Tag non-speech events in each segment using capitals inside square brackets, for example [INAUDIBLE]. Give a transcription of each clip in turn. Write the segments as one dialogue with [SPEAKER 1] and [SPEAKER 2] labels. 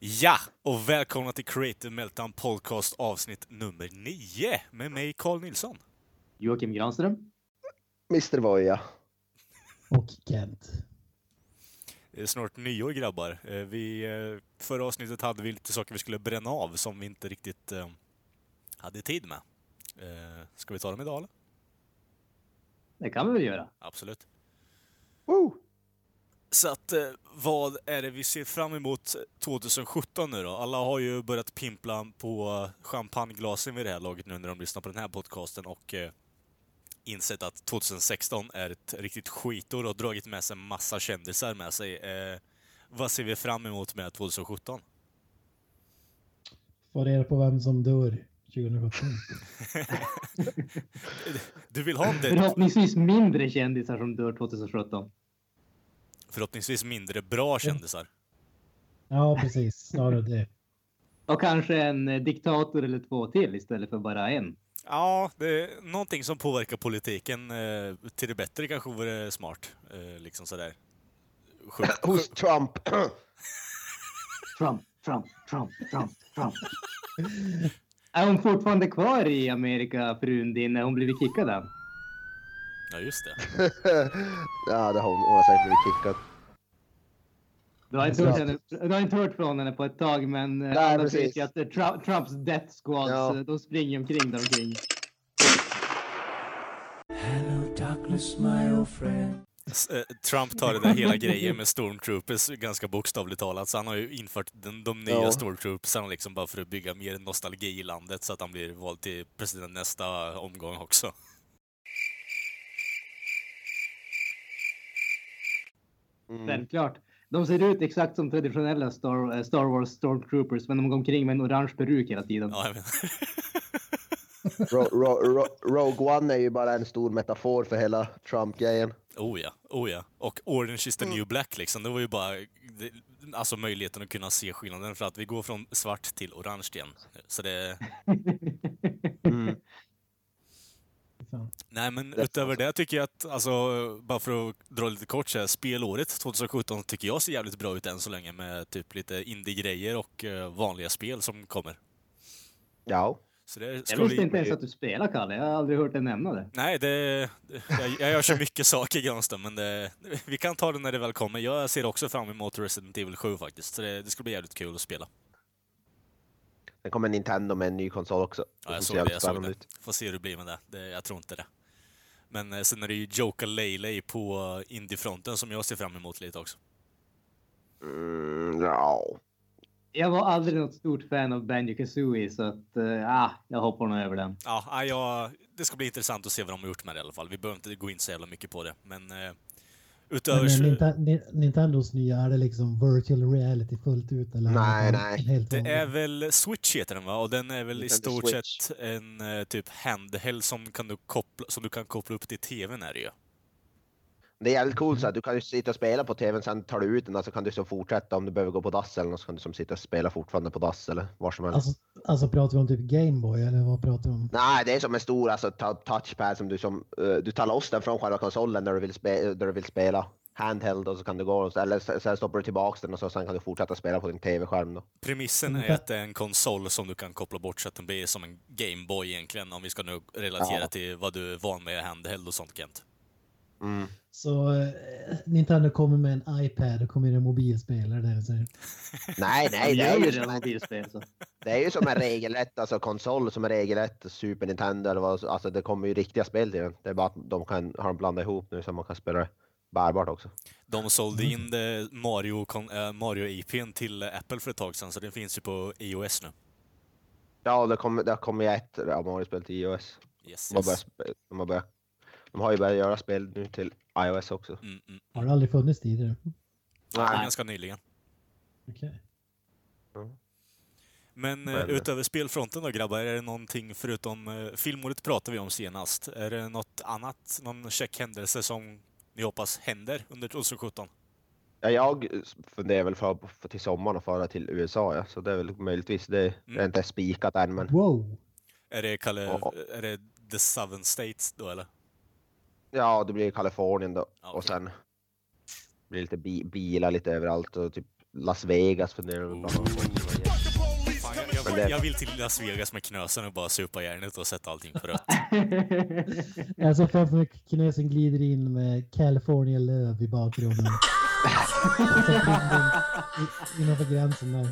[SPEAKER 1] Ja, och välkomna till Creative Meltdown Podcast avsnitt nummer 9 med mig Carl Nilsson.
[SPEAKER 2] Joakim Granström.
[SPEAKER 3] Mr. Voja.
[SPEAKER 4] Och Kent.
[SPEAKER 1] Det är snart nyår grabbar. Eh, Vi, eh, förra avsnittet hade vi lite saker vi skulle bränna av som vi inte riktigt eh, hade tid med. Eh, Ska vi ta dem idag eller?
[SPEAKER 2] Det kan vi väl göra.
[SPEAKER 1] Absolut.
[SPEAKER 3] Woo!
[SPEAKER 1] Så att eh, vad är det vi ser fram emot 2017 nu då? Alla har ju börjat pimpla på champagneglasen vid det här laget nu när de lyssnar på den här podcasten och eh, insett att 2016 är ett riktigt skitår och dragit med sig en massa kändisar med sig. Eh, vad ser vi fram emot med 2017?
[SPEAKER 4] Få reda på vem som dör 2017.
[SPEAKER 1] Du vill ha en dead,
[SPEAKER 2] Förhoppningsvis mindre kändisar som dör 2017.
[SPEAKER 1] förhoppningsvis mindre bra kändisar.
[SPEAKER 4] Ja, precis. Snarare det.
[SPEAKER 2] Och kanske en eh, diktator eller två till istället för bara en.
[SPEAKER 1] Ja, det är någonting som påverkar politiken eh, till det bättre kanske vore smart. Eh, liksom sådär. Sjuk,
[SPEAKER 3] Hos Trump. [CLEARS THROAT]
[SPEAKER 2] Trump, Trump, Trump, Trump, Trump. Är hon fortfarande kvar i Amerika, frun din, när hon blivit kickad av?
[SPEAKER 1] ja, just det.
[SPEAKER 3] ja, det har hon. Hon har säkert blivit kickad.
[SPEAKER 2] Du har, inte hört henne, du har inte hört från henne på ett tag, men eh,
[SPEAKER 3] Nej,
[SPEAKER 2] alla vet
[SPEAKER 3] precis.
[SPEAKER 2] ju att eh, Trump, Trumps death squads,
[SPEAKER 3] Ja.
[SPEAKER 2] eh, de springer omkring där omkring.
[SPEAKER 1] S- eh, Trump tar det där hela grejen med stormtroopers ganska bokstavligt talat, så han har ju infört den, de nya
[SPEAKER 3] Ja.
[SPEAKER 1] stormtroopersarna liksom bara för att bygga mer nostalgi i landet så att han blir vald till president nästa omgång också.
[SPEAKER 3] Mm.
[SPEAKER 2] Självklart. De ser ut exakt som traditionella Star, eh, Star Wars Stormtroopers, men de går omkring med en orange peruk hela tiden.
[SPEAKER 1] Ja, jag menar.
[SPEAKER 3] Ro, ro, ro, Rogue One är ju bara en stor metafor för hela Trump-grejen.
[SPEAKER 1] Oh ja, oh ja. Och Orange is the new black liksom, det var ju bara det, alltså möjligheten att kunna se skillnaden för att vi går från svart till orange igen. Så det,
[SPEAKER 3] Mm.
[SPEAKER 4] Fy
[SPEAKER 1] [LAUGHS]
[SPEAKER 4] Fan.
[SPEAKER 1] Nej, men
[SPEAKER 3] Rätt
[SPEAKER 1] utöver
[SPEAKER 3] alltså.
[SPEAKER 1] det tycker jag att, alltså, bara för att dra lite kort så här, spelåret 2017 tycker jag ser jävligt bra ut än så länge med typ lite indie-grejer och eh, vanliga spel som kommer.
[SPEAKER 3] Ja.
[SPEAKER 1] Så det ska
[SPEAKER 2] Jag visste
[SPEAKER 1] bli-
[SPEAKER 2] inte ens att du spelar Kalle, jag har aldrig hört dig nämna det.
[SPEAKER 1] Nej, det, det- jag, jag gör så mycket [LAUGHS] saker Granström, men det, vi kan ta det när det väl kommer. Jag ser också fram emot Resident Evil 7 faktiskt, så det, det ska bli jävligt kul att spela.
[SPEAKER 3] Sen kommer Nintendo med en ny konsol också.
[SPEAKER 1] Ja, jag
[SPEAKER 3] ser
[SPEAKER 1] såg
[SPEAKER 3] jävligt
[SPEAKER 1] det, jag såg
[SPEAKER 3] spännande
[SPEAKER 1] det. Får se hur det blir med det. det jag tror inte det. Men eh, sen är det ju Joka Leylay på eh, Indiefronten som jag ser fram emot lite också.
[SPEAKER 3] Mm, ja.
[SPEAKER 2] Jag var aldrig något stort fan av Banjo Kazooie så att, eh, ah, jag hoppar nog över den.
[SPEAKER 1] Ja, nej, jag, det ska bli intressant att se vad de har gjort med det i alla fall. Vi behöver inte gå in så jävla mycket på det. Men eh,
[SPEAKER 4] Men,
[SPEAKER 1] utöver...
[SPEAKER 4] eh,
[SPEAKER 1] så-
[SPEAKER 4] Ninta- Ni- Nintendos nya, är det liksom virtual reality fullt ut? Eller
[SPEAKER 3] Nej,
[SPEAKER 4] är det
[SPEAKER 3] nej.
[SPEAKER 4] Helt
[SPEAKER 1] det
[SPEAKER 4] vanligt?
[SPEAKER 1] är väl Switch heter den va? Och den är väl i
[SPEAKER 3] Nintendo
[SPEAKER 1] stort
[SPEAKER 3] Switch.
[SPEAKER 1] sett en eh, typ handheld som, kan du koppla, som du kan koppla upp till TVn är det ju.
[SPEAKER 3] Det är jävligt coolt så att du kan ju sitta och spela på tvn, sen tar du ut den och så kan du så fortsätta om du behöver gå på dass eller något, så kan du som sitta och spela fortfarande på dass eller var som helst.
[SPEAKER 4] Alltså, alltså pratar vi om typ Gameboy eller vad pratar vi om?
[SPEAKER 3] Nej, det är som en stor alltså, ta- touchpad som du som, eh, du tar loss den från själva konsolen när du vill, spe- där du vill spela. Handheld och så kan du gå och, eller så- sen stoppar du tillbaks den och så sen kan du fortsätta spela på din tv-skärm då.
[SPEAKER 1] Premissen
[SPEAKER 4] Mm,
[SPEAKER 1] är
[SPEAKER 4] men-
[SPEAKER 1] att det är en konsol som du kan koppla bort så att den blir som en Gameboy egentligen. Om vi ska nu relatera
[SPEAKER 3] Ja.
[SPEAKER 1] till vad du är van med handheld och sånt Kent.
[SPEAKER 3] Mm.
[SPEAKER 4] Så eh, Nintendo kommer med en iPad och kommer in en mobilspel. Eller det, så.
[SPEAKER 3] Nej,
[SPEAKER 2] [LAUGHS]
[SPEAKER 3] nej,
[SPEAKER 2] De
[SPEAKER 3] det
[SPEAKER 2] gör
[SPEAKER 3] är,
[SPEAKER 2] ju
[SPEAKER 3] ju
[SPEAKER 2] det
[SPEAKER 3] som en,
[SPEAKER 2] mobilspel
[SPEAKER 3] [LAUGHS]
[SPEAKER 2] så.
[SPEAKER 3] det är ju som en regelrätt alltså, konsol som är regelrätt Super Nintendo eller vad, alltså det kommer ju riktiga spel till den. Det är bara att de kan, har de blandat ihop nu så man kan spela det bärbart också.
[SPEAKER 1] De sålde
[SPEAKER 4] Mm.
[SPEAKER 1] in det Mario, kon- eh, Mario APn till eh, Apple för ett tag sedan, så den finns ju på iOS nu.
[SPEAKER 3] Ja, och det kommer det kommer ju ett ja, Mario-spel till iOS.
[SPEAKER 1] Yes,
[SPEAKER 3] De har,
[SPEAKER 1] yes.
[SPEAKER 3] börjat, spe- de, har börjat, de har ju börjat göra spel nu till iOS också.
[SPEAKER 1] Mm, mm.
[SPEAKER 4] Har det aldrig funnits tidigare?
[SPEAKER 3] Nej.
[SPEAKER 1] Ganska nyligen.
[SPEAKER 4] Okej.
[SPEAKER 1] Men eh,
[SPEAKER 3] Vad är det?
[SPEAKER 1] utöver spelfronten då grabbar, är det någonting förutom eh, filmordet pratade vi om senast? Är det något annat, någon käck händelse som ni hoppas händer under 2017?
[SPEAKER 3] Ja, jag funderar väl för, för till sommaren att fara till USA, ja. så det är väl möjligtvis det.
[SPEAKER 1] Mm.
[SPEAKER 3] Det är inte spikat än, men
[SPEAKER 4] Wow.
[SPEAKER 1] Är det, Kalle,
[SPEAKER 3] Ja.
[SPEAKER 1] är det The Southern States då eller?
[SPEAKER 3] ja, det blir Kalifornien då.
[SPEAKER 1] Ja,
[SPEAKER 3] Och
[SPEAKER 1] okej.
[SPEAKER 3] sen blir det lite bi bilar lite överallt och typ Las Vegas funderar jag på.
[SPEAKER 1] Fan,
[SPEAKER 3] Men
[SPEAKER 1] jag,
[SPEAKER 3] det-
[SPEAKER 1] jag, jag vill till Las Vegas med knösen och bara supa järnet och sätta allting på rött.
[SPEAKER 4] [LAUGHS] Alltså framför mig kinesen glider in med California löv
[SPEAKER 3] [LAUGHS]
[SPEAKER 4] i bakgrunden. Så att bilden i- Innanför gränsen där.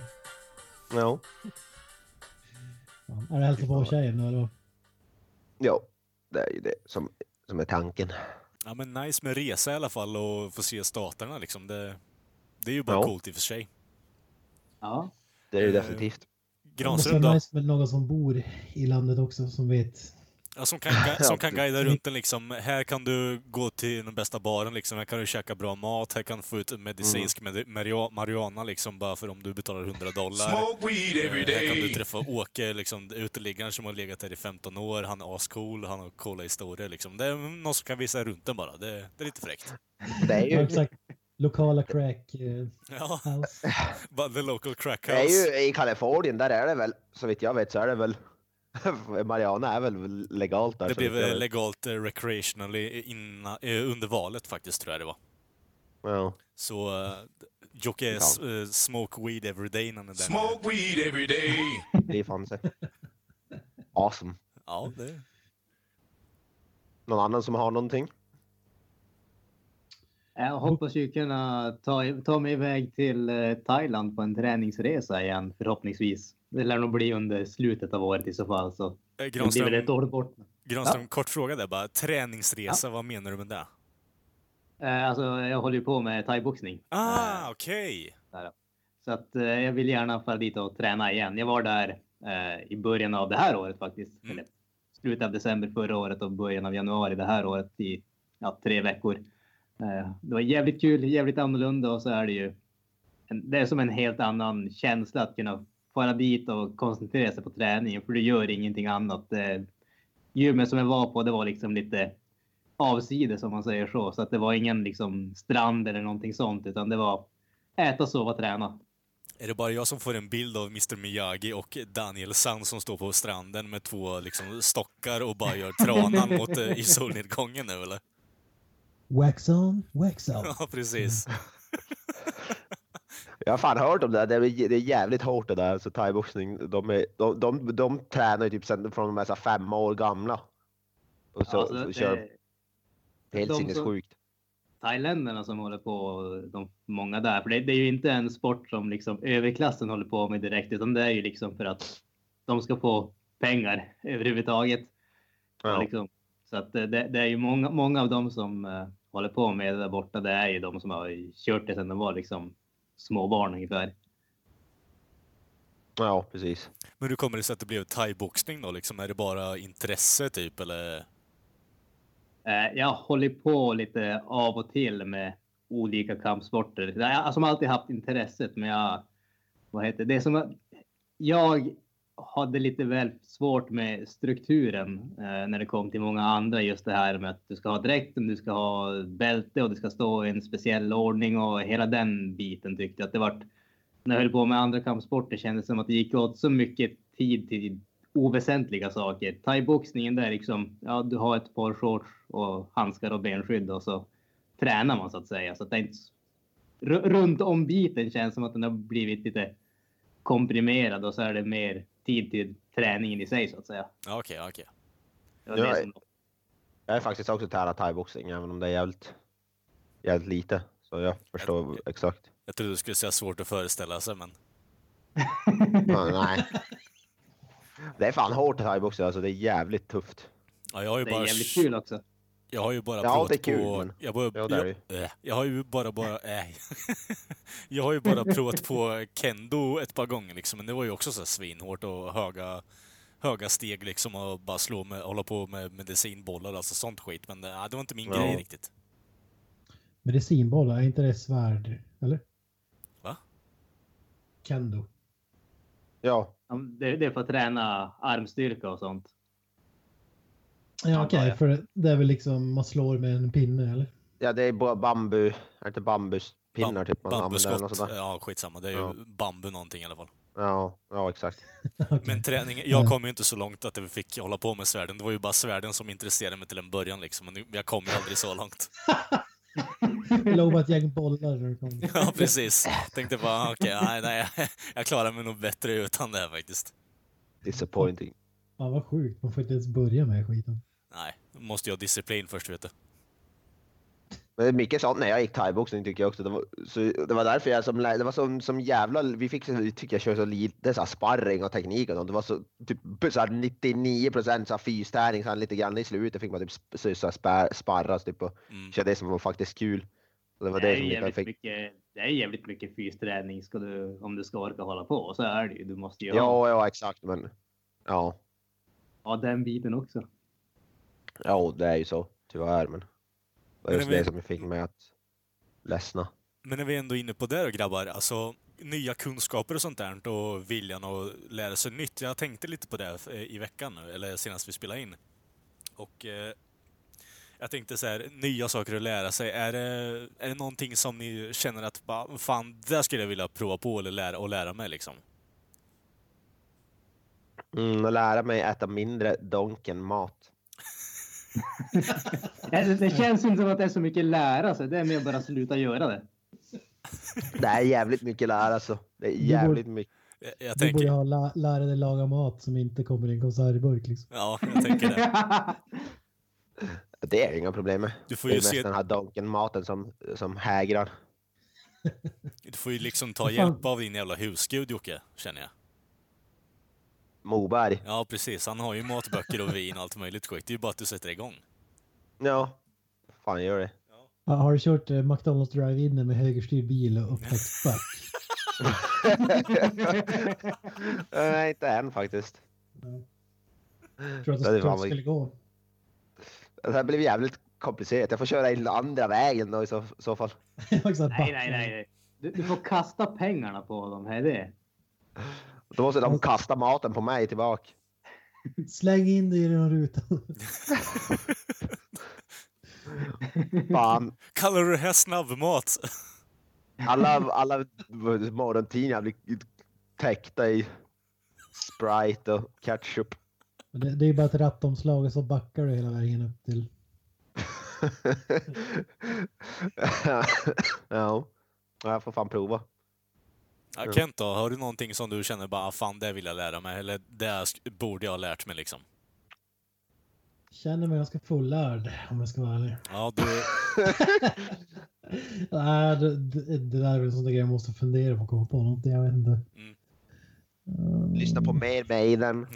[SPEAKER 3] Ja.
[SPEAKER 4] Ja, Är det hälsa på tjejen nu eller? vad?
[SPEAKER 3] ja, det är ju det som, som är tanken.
[SPEAKER 1] Ja men nice med resa i alla fall och få se staterna liksom. Det, det är ju bara
[SPEAKER 3] Ja.
[SPEAKER 1] coolt i och för sig.
[SPEAKER 2] ja.
[SPEAKER 3] Det är ju
[SPEAKER 1] Eh,
[SPEAKER 3] definitivt.
[SPEAKER 4] Det måste vara
[SPEAKER 1] Granström då?
[SPEAKER 4] nice med någon som bor i landet också som vet.
[SPEAKER 1] Ja, som, kan, ga- som kan
[SPEAKER 3] Ja,
[SPEAKER 1] guida runt den liksom. Här kan du gå till den bästa baren liksom. Här kan du käka bra mat. Här kan du få ut medicinsk
[SPEAKER 3] Mm.
[SPEAKER 1] med, maria- marijuana liksom bara för om du betalar 100 dollar.
[SPEAKER 5] Smoke weed
[SPEAKER 1] Eh,
[SPEAKER 5] every
[SPEAKER 1] Här kan du
[SPEAKER 5] day.
[SPEAKER 1] träffa Åke, liksom, uteliggaren som har legat här i 15 år. Han är ascool, han har coola historier. Liksom. Det är någon som kan visa runt den bara. Det, det är lite fräckt. [LAUGHS]
[SPEAKER 3] Det är
[SPEAKER 4] Ja, [LAUGHS]
[SPEAKER 3] ju,
[SPEAKER 4] exakt. Lokala crack eh,
[SPEAKER 1] Ja,
[SPEAKER 4] house.
[SPEAKER 1] bara the local crack
[SPEAKER 3] det är
[SPEAKER 1] house.
[SPEAKER 3] ju i Kalifornien, där är det väl, så vitt jag vet så är det väl, [LAUGHS] Mariana är väl legalt där.
[SPEAKER 1] Det
[SPEAKER 3] så vitt
[SPEAKER 1] blev
[SPEAKER 3] jag
[SPEAKER 1] eh,
[SPEAKER 3] vet.
[SPEAKER 1] legalt eh, recreationally inna, eh, under valet faktiskt, tror jag det var.
[SPEAKER 3] ja.
[SPEAKER 1] Så eh, Jocke
[SPEAKER 3] Ja.
[SPEAKER 1] eh, smoke weed every day när han är där nere.
[SPEAKER 5] Smoke weed every day.
[SPEAKER 3] Det
[SPEAKER 1] [LAUGHS]
[SPEAKER 3] fanns det. Awesome.
[SPEAKER 1] Ja, det...
[SPEAKER 3] Någon annan som har någonting?
[SPEAKER 2] Jag hoppas ju kunna ta, ta mig iväg till eh, Thailand på en träningsresa igen förhoppningsvis. Det lär nog bli under slutet av året i så fall så
[SPEAKER 1] Eh,
[SPEAKER 2] det blir väl ett
[SPEAKER 1] Granström,
[SPEAKER 2] år bort.
[SPEAKER 1] Granström kort fråga där bara. Träningsresa, vad menar du med det?
[SPEAKER 2] Eh, Alltså, jag håller ju på med thaiboxning.
[SPEAKER 1] Ah, okej!
[SPEAKER 2] Så att eh, jag vill gärna fara dit och träna igen. Jag var där eh, i början av det här året faktiskt.
[SPEAKER 1] Mm.
[SPEAKER 2] Eller slutet av december förra året och början av januari det här året i ja, tre veckor. Eh, det var jävligt kul, jävligt annorlunda och så är det ju. En, det är som en helt annan känsla att kunna fara dit och koncentrera sig på träningen för du gör ingenting annat. Eh, gymmet som jag var på, det var liksom lite avsides om man säger så. Så att det var ingen liksom strand eller någonting sånt utan det var äta, sova, träna.
[SPEAKER 1] Är det bara jag som får en bild av Mr Miyagi och Daniel Sand som står på stranden med två liksom, stockar och bara gör tranan mot, eh, i solnedgången nu eller?
[SPEAKER 4] Wax on, wax off.
[SPEAKER 1] Ja, precis.
[SPEAKER 3] Jag har fan hört om det där. Det är, det är jävligt hårt det där. Så thaiboxning, de, är- de, de, de tränar ju typ sen från de är så här fem år gamla. Och så,
[SPEAKER 2] Alltså,
[SPEAKER 3] så
[SPEAKER 2] det-
[SPEAKER 3] kör helt
[SPEAKER 2] de som-
[SPEAKER 3] sinnessjukt.
[SPEAKER 2] thailändarna som håller på, de många där. För det, det är ju inte en sport som liksom överklassen håller på med direkt, utan det är ju liksom för att de ska få pengar [LAUGHS] överhuvudtaget. Och
[SPEAKER 3] Ja.
[SPEAKER 2] Liksom, så att det, det det är ju många, många av dem som eh, håller på med det där borta. Det är ju de som har kört det sedan de var liksom småbarn ungefär.
[SPEAKER 3] ja, precis.
[SPEAKER 1] Men hur kommer det sig att det blev thaiboxning då? Liksom, är det bara intresse typ eller?
[SPEAKER 2] Eh, Jag håller på lite av och till med olika kampsporter. Jag har som alltid haft intresset, men jag... Vad heter det? det är som att jag hade lite väl svårt med strukturen eh, när det kom till många andra. Just det här med att du ska ha dräkten, du ska ha bälte och det ska stå i en speciell ordning och hela den biten tyckte jag att det vart. När jag höll på med andra kampsporter kändes det som att det gick åt så mycket tid till oväsentliga saker. Thaiboxningen där liksom, ja du har ett par shorts och handskar och benskydd och så tränar man så att säga. Så att det är inte... s- Ru- Runt om biten känns som att den har blivit lite komprimerad och så är det mer tid till träningen i sig så att säga.
[SPEAKER 1] Ja, okej, ja, okej.
[SPEAKER 2] Det var
[SPEAKER 3] Ja,
[SPEAKER 2] det som...
[SPEAKER 3] Jag har faktiskt också tränat thaiboxning, även om det är jävligt, jävligt lite. Så jag förstår exakt.
[SPEAKER 1] Jag trodde du skulle säga svårt att föreställa sig men...
[SPEAKER 3] Ja,
[SPEAKER 2] [LAUGHS]
[SPEAKER 3] nej. Det är fan hårt thaiboxning, alltså. Det är jävligt tufft.
[SPEAKER 1] Ja, jag har ju
[SPEAKER 2] Det
[SPEAKER 1] bara...
[SPEAKER 2] är jävligt kul också.
[SPEAKER 1] Jag har ju bara
[SPEAKER 3] Ja,
[SPEAKER 1] provat
[SPEAKER 3] det är kul,
[SPEAKER 1] på...
[SPEAKER 3] men-
[SPEAKER 1] Jag, bara,
[SPEAKER 3] Ja, det är det
[SPEAKER 1] jag, äh, jag har ju bara, bara... Äh. [LAUGHS] jag har ju bara provat på kendo ett par gånger liksom, men det var ju också så här svinhårt och höga, höga steg liksom och bara slå med, hålla på med medicinbollar alltså sånt skit. Men äh, det var inte min
[SPEAKER 3] Ja.
[SPEAKER 1] grej riktigt.
[SPEAKER 4] Medicinbollar, är inte det svärd? Eller?
[SPEAKER 1] Va?
[SPEAKER 4] Kendo.
[SPEAKER 3] Ja.
[SPEAKER 2] Ja, Det, det är för att träna armstyrka och sånt.
[SPEAKER 4] Ja, okej,
[SPEAKER 2] Antar jag.
[SPEAKER 4] för det är väl liksom man slår med en pinne eller? [LAUGHS]
[SPEAKER 3] ja, det är bara bambu, är det inte bambuspinnar typ man använder? eller något
[SPEAKER 1] Bambuskott.
[SPEAKER 3] sånt där?
[SPEAKER 1] Ja, skitsamma. Det är ju
[SPEAKER 3] Ja.
[SPEAKER 1] bambu någonting i alla fall.
[SPEAKER 3] Ja, ja exakt.
[SPEAKER 4] Okej.
[SPEAKER 1] Men träning, jag
[SPEAKER 4] Mm. Ja.
[SPEAKER 1] kom ju inte så långt att jag fick hålla på med svärden. Det var ju bara svärden som intresserade mig till en början liksom. Men nu- jag kom ju aldrig så långt.
[SPEAKER 4] Jag lovar ett gäng bollar när du kommer.
[SPEAKER 1] Ja, precis. Tänkte bara, okej, nej, nej. Jag klarar mig nog bättre utan det här faktiskt.
[SPEAKER 3] Disappointing.
[SPEAKER 4] Fan vad sjukt, man får inte ens börja med skiten.
[SPEAKER 1] Nej, måste jag ha disciplin först, vet du.
[SPEAKER 3] Men Micke sa när jag gick thaiboxning tycker jag också. Det var, så, det var därför jag som, lä- det var som, som jävla, vi fick så- tycker jag köra så lite så här sparring och teknik och sånt. Det var så typ så här 99 procent så här fysträning så här lite grann i slutet fick man typ sp- så, så här spär, sparras typ och
[SPEAKER 1] Mm.
[SPEAKER 3] köra det som var faktiskt kul. Och Det var det,
[SPEAKER 2] Det är,
[SPEAKER 3] som Mikael
[SPEAKER 2] jävligt
[SPEAKER 3] fick.
[SPEAKER 2] mycket, det är jävligt mycket fysträning ska du, om du ska orka hålla på. Så är det ju. Du måste ju ha,
[SPEAKER 3] Ja, ja exakt men ja,
[SPEAKER 2] ha den biten också.
[SPEAKER 3] ja det är ju så tyvärr men. Det var
[SPEAKER 1] Men
[SPEAKER 3] just
[SPEAKER 1] vi-
[SPEAKER 3] det som fick mig att ledsna.
[SPEAKER 1] Men när vi ändå är inne på det då grabbar, alltså nya kunskaper och sånt där och viljan att lära sig nytt. Jag tänkte lite på det eh, i veckan nu, eller senast vi spelade in. Och eh, jag tänkte så här, nya saker att lära sig. Är det, är det någonting som ni känner att "Ba, fan, det där skulle jag vilja prova på eller lära, och lära mig liksom?
[SPEAKER 3] Mm, och lära mig äta mindre donken mat.
[SPEAKER 2] Det, det känns inte som att det är så mycket lära sig. Det är mer bara sluta göra det.
[SPEAKER 3] Det är jävligt mycket lära alltså. Det är
[SPEAKER 4] går-
[SPEAKER 3] jävligt mycket.
[SPEAKER 1] Jag, Eh, jag
[SPEAKER 4] Du borde
[SPEAKER 1] tänker,
[SPEAKER 4] ha la- lära dig laga mat som inte kommer i en konservburk liksom.
[SPEAKER 1] ja, jag tänker det.
[SPEAKER 3] Det är ju inga problem med.
[SPEAKER 1] Du får
[SPEAKER 3] Det är
[SPEAKER 1] ju
[SPEAKER 3] mest
[SPEAKER 1] se,
[SPEAKER 3] den här donken-maten som, som hägrar.
[SPEAKER 1] du får ju liksom ta
[SPEAKER 4] Fan.
[SPEAKER 1] hjälp av din jävla husgud Jocke, känner jag.
[SPEAKER 3] Moberg.
[SPEAKER 1] Ja, precis. Han har ju matböcker och vin och allt möjligt skit. Det är ju bara att du sätter igång.
[SPEAKER 3] Ja. Fan gör det.
[SPEAKER 4] Ja, Har du kört eh, McDonalds drive-in med högerstyrd bil
[SPEAKER 2] [LAUGHS]
[SPEAKER 4] och upptäckt fuck?
[SPEAKER 3] Nej, inte än faktiskt.
[SPEAKER 4] Tror att
[SPEAKER 3] Ja, det var
[SPEAKER 4] det tror att det
[SPEAKER 3] vad-
[SPEAKER 4] skulle gå? [LAUGHS]
[SPEAKER 3] Det här blev jävligt komplicerat. Jag får köra in andra vägen då i så, så fall.
[SPEAKER 4] Jag har sagt
[SPEAKER 2] nej,
[SPEAKER 4] back.
[SPEAKER 2] nej, nej. nej. Du, du får kasta pengarna på dem. Här är det.
[SPEAKER 3] Då måste de kasta maten på mig tillbaka.
[SPEAKER 4] Släng in det i den här rutan. [LAUGHS]
[SPEAKER 3] Fan.
[SPEAKER 1] Kallar du det här snabbmat?
[SPEAKER 3] Alla, alla morgontidningar blir täckta i Sprite och ketchup.
[SPEAKER 4] Men Det, det är ju bara ett rattomslag och så backar du hela vägen upp till...
[SPEAKER 3] [LAUGHS] ja. Ja, jag får fan prova.
[SPEAKER 1] Ja,
[SPEAKER 3] Ja.
[SPEAKER 1] Kent då, har du någonting som du känner bara, "Ah, fan det vill jag lära mig, eller det här sk- borde jag ha lärt mig liksom?
[SPEAKER 4] Känner mig ganska fullärd om jag ska vara ärlig.
[SPEAKER 1] Ja, du,
[SPEAKER 4] Nej, det, det, det där är väl en sån där grej jag måste fundera på och komma på någonting. Jag vet inte.
[SPEAKER 1] Mm.
[SPEAKER 4] Mm.
[SPEAKER 3] Lyssna på mer Maiden.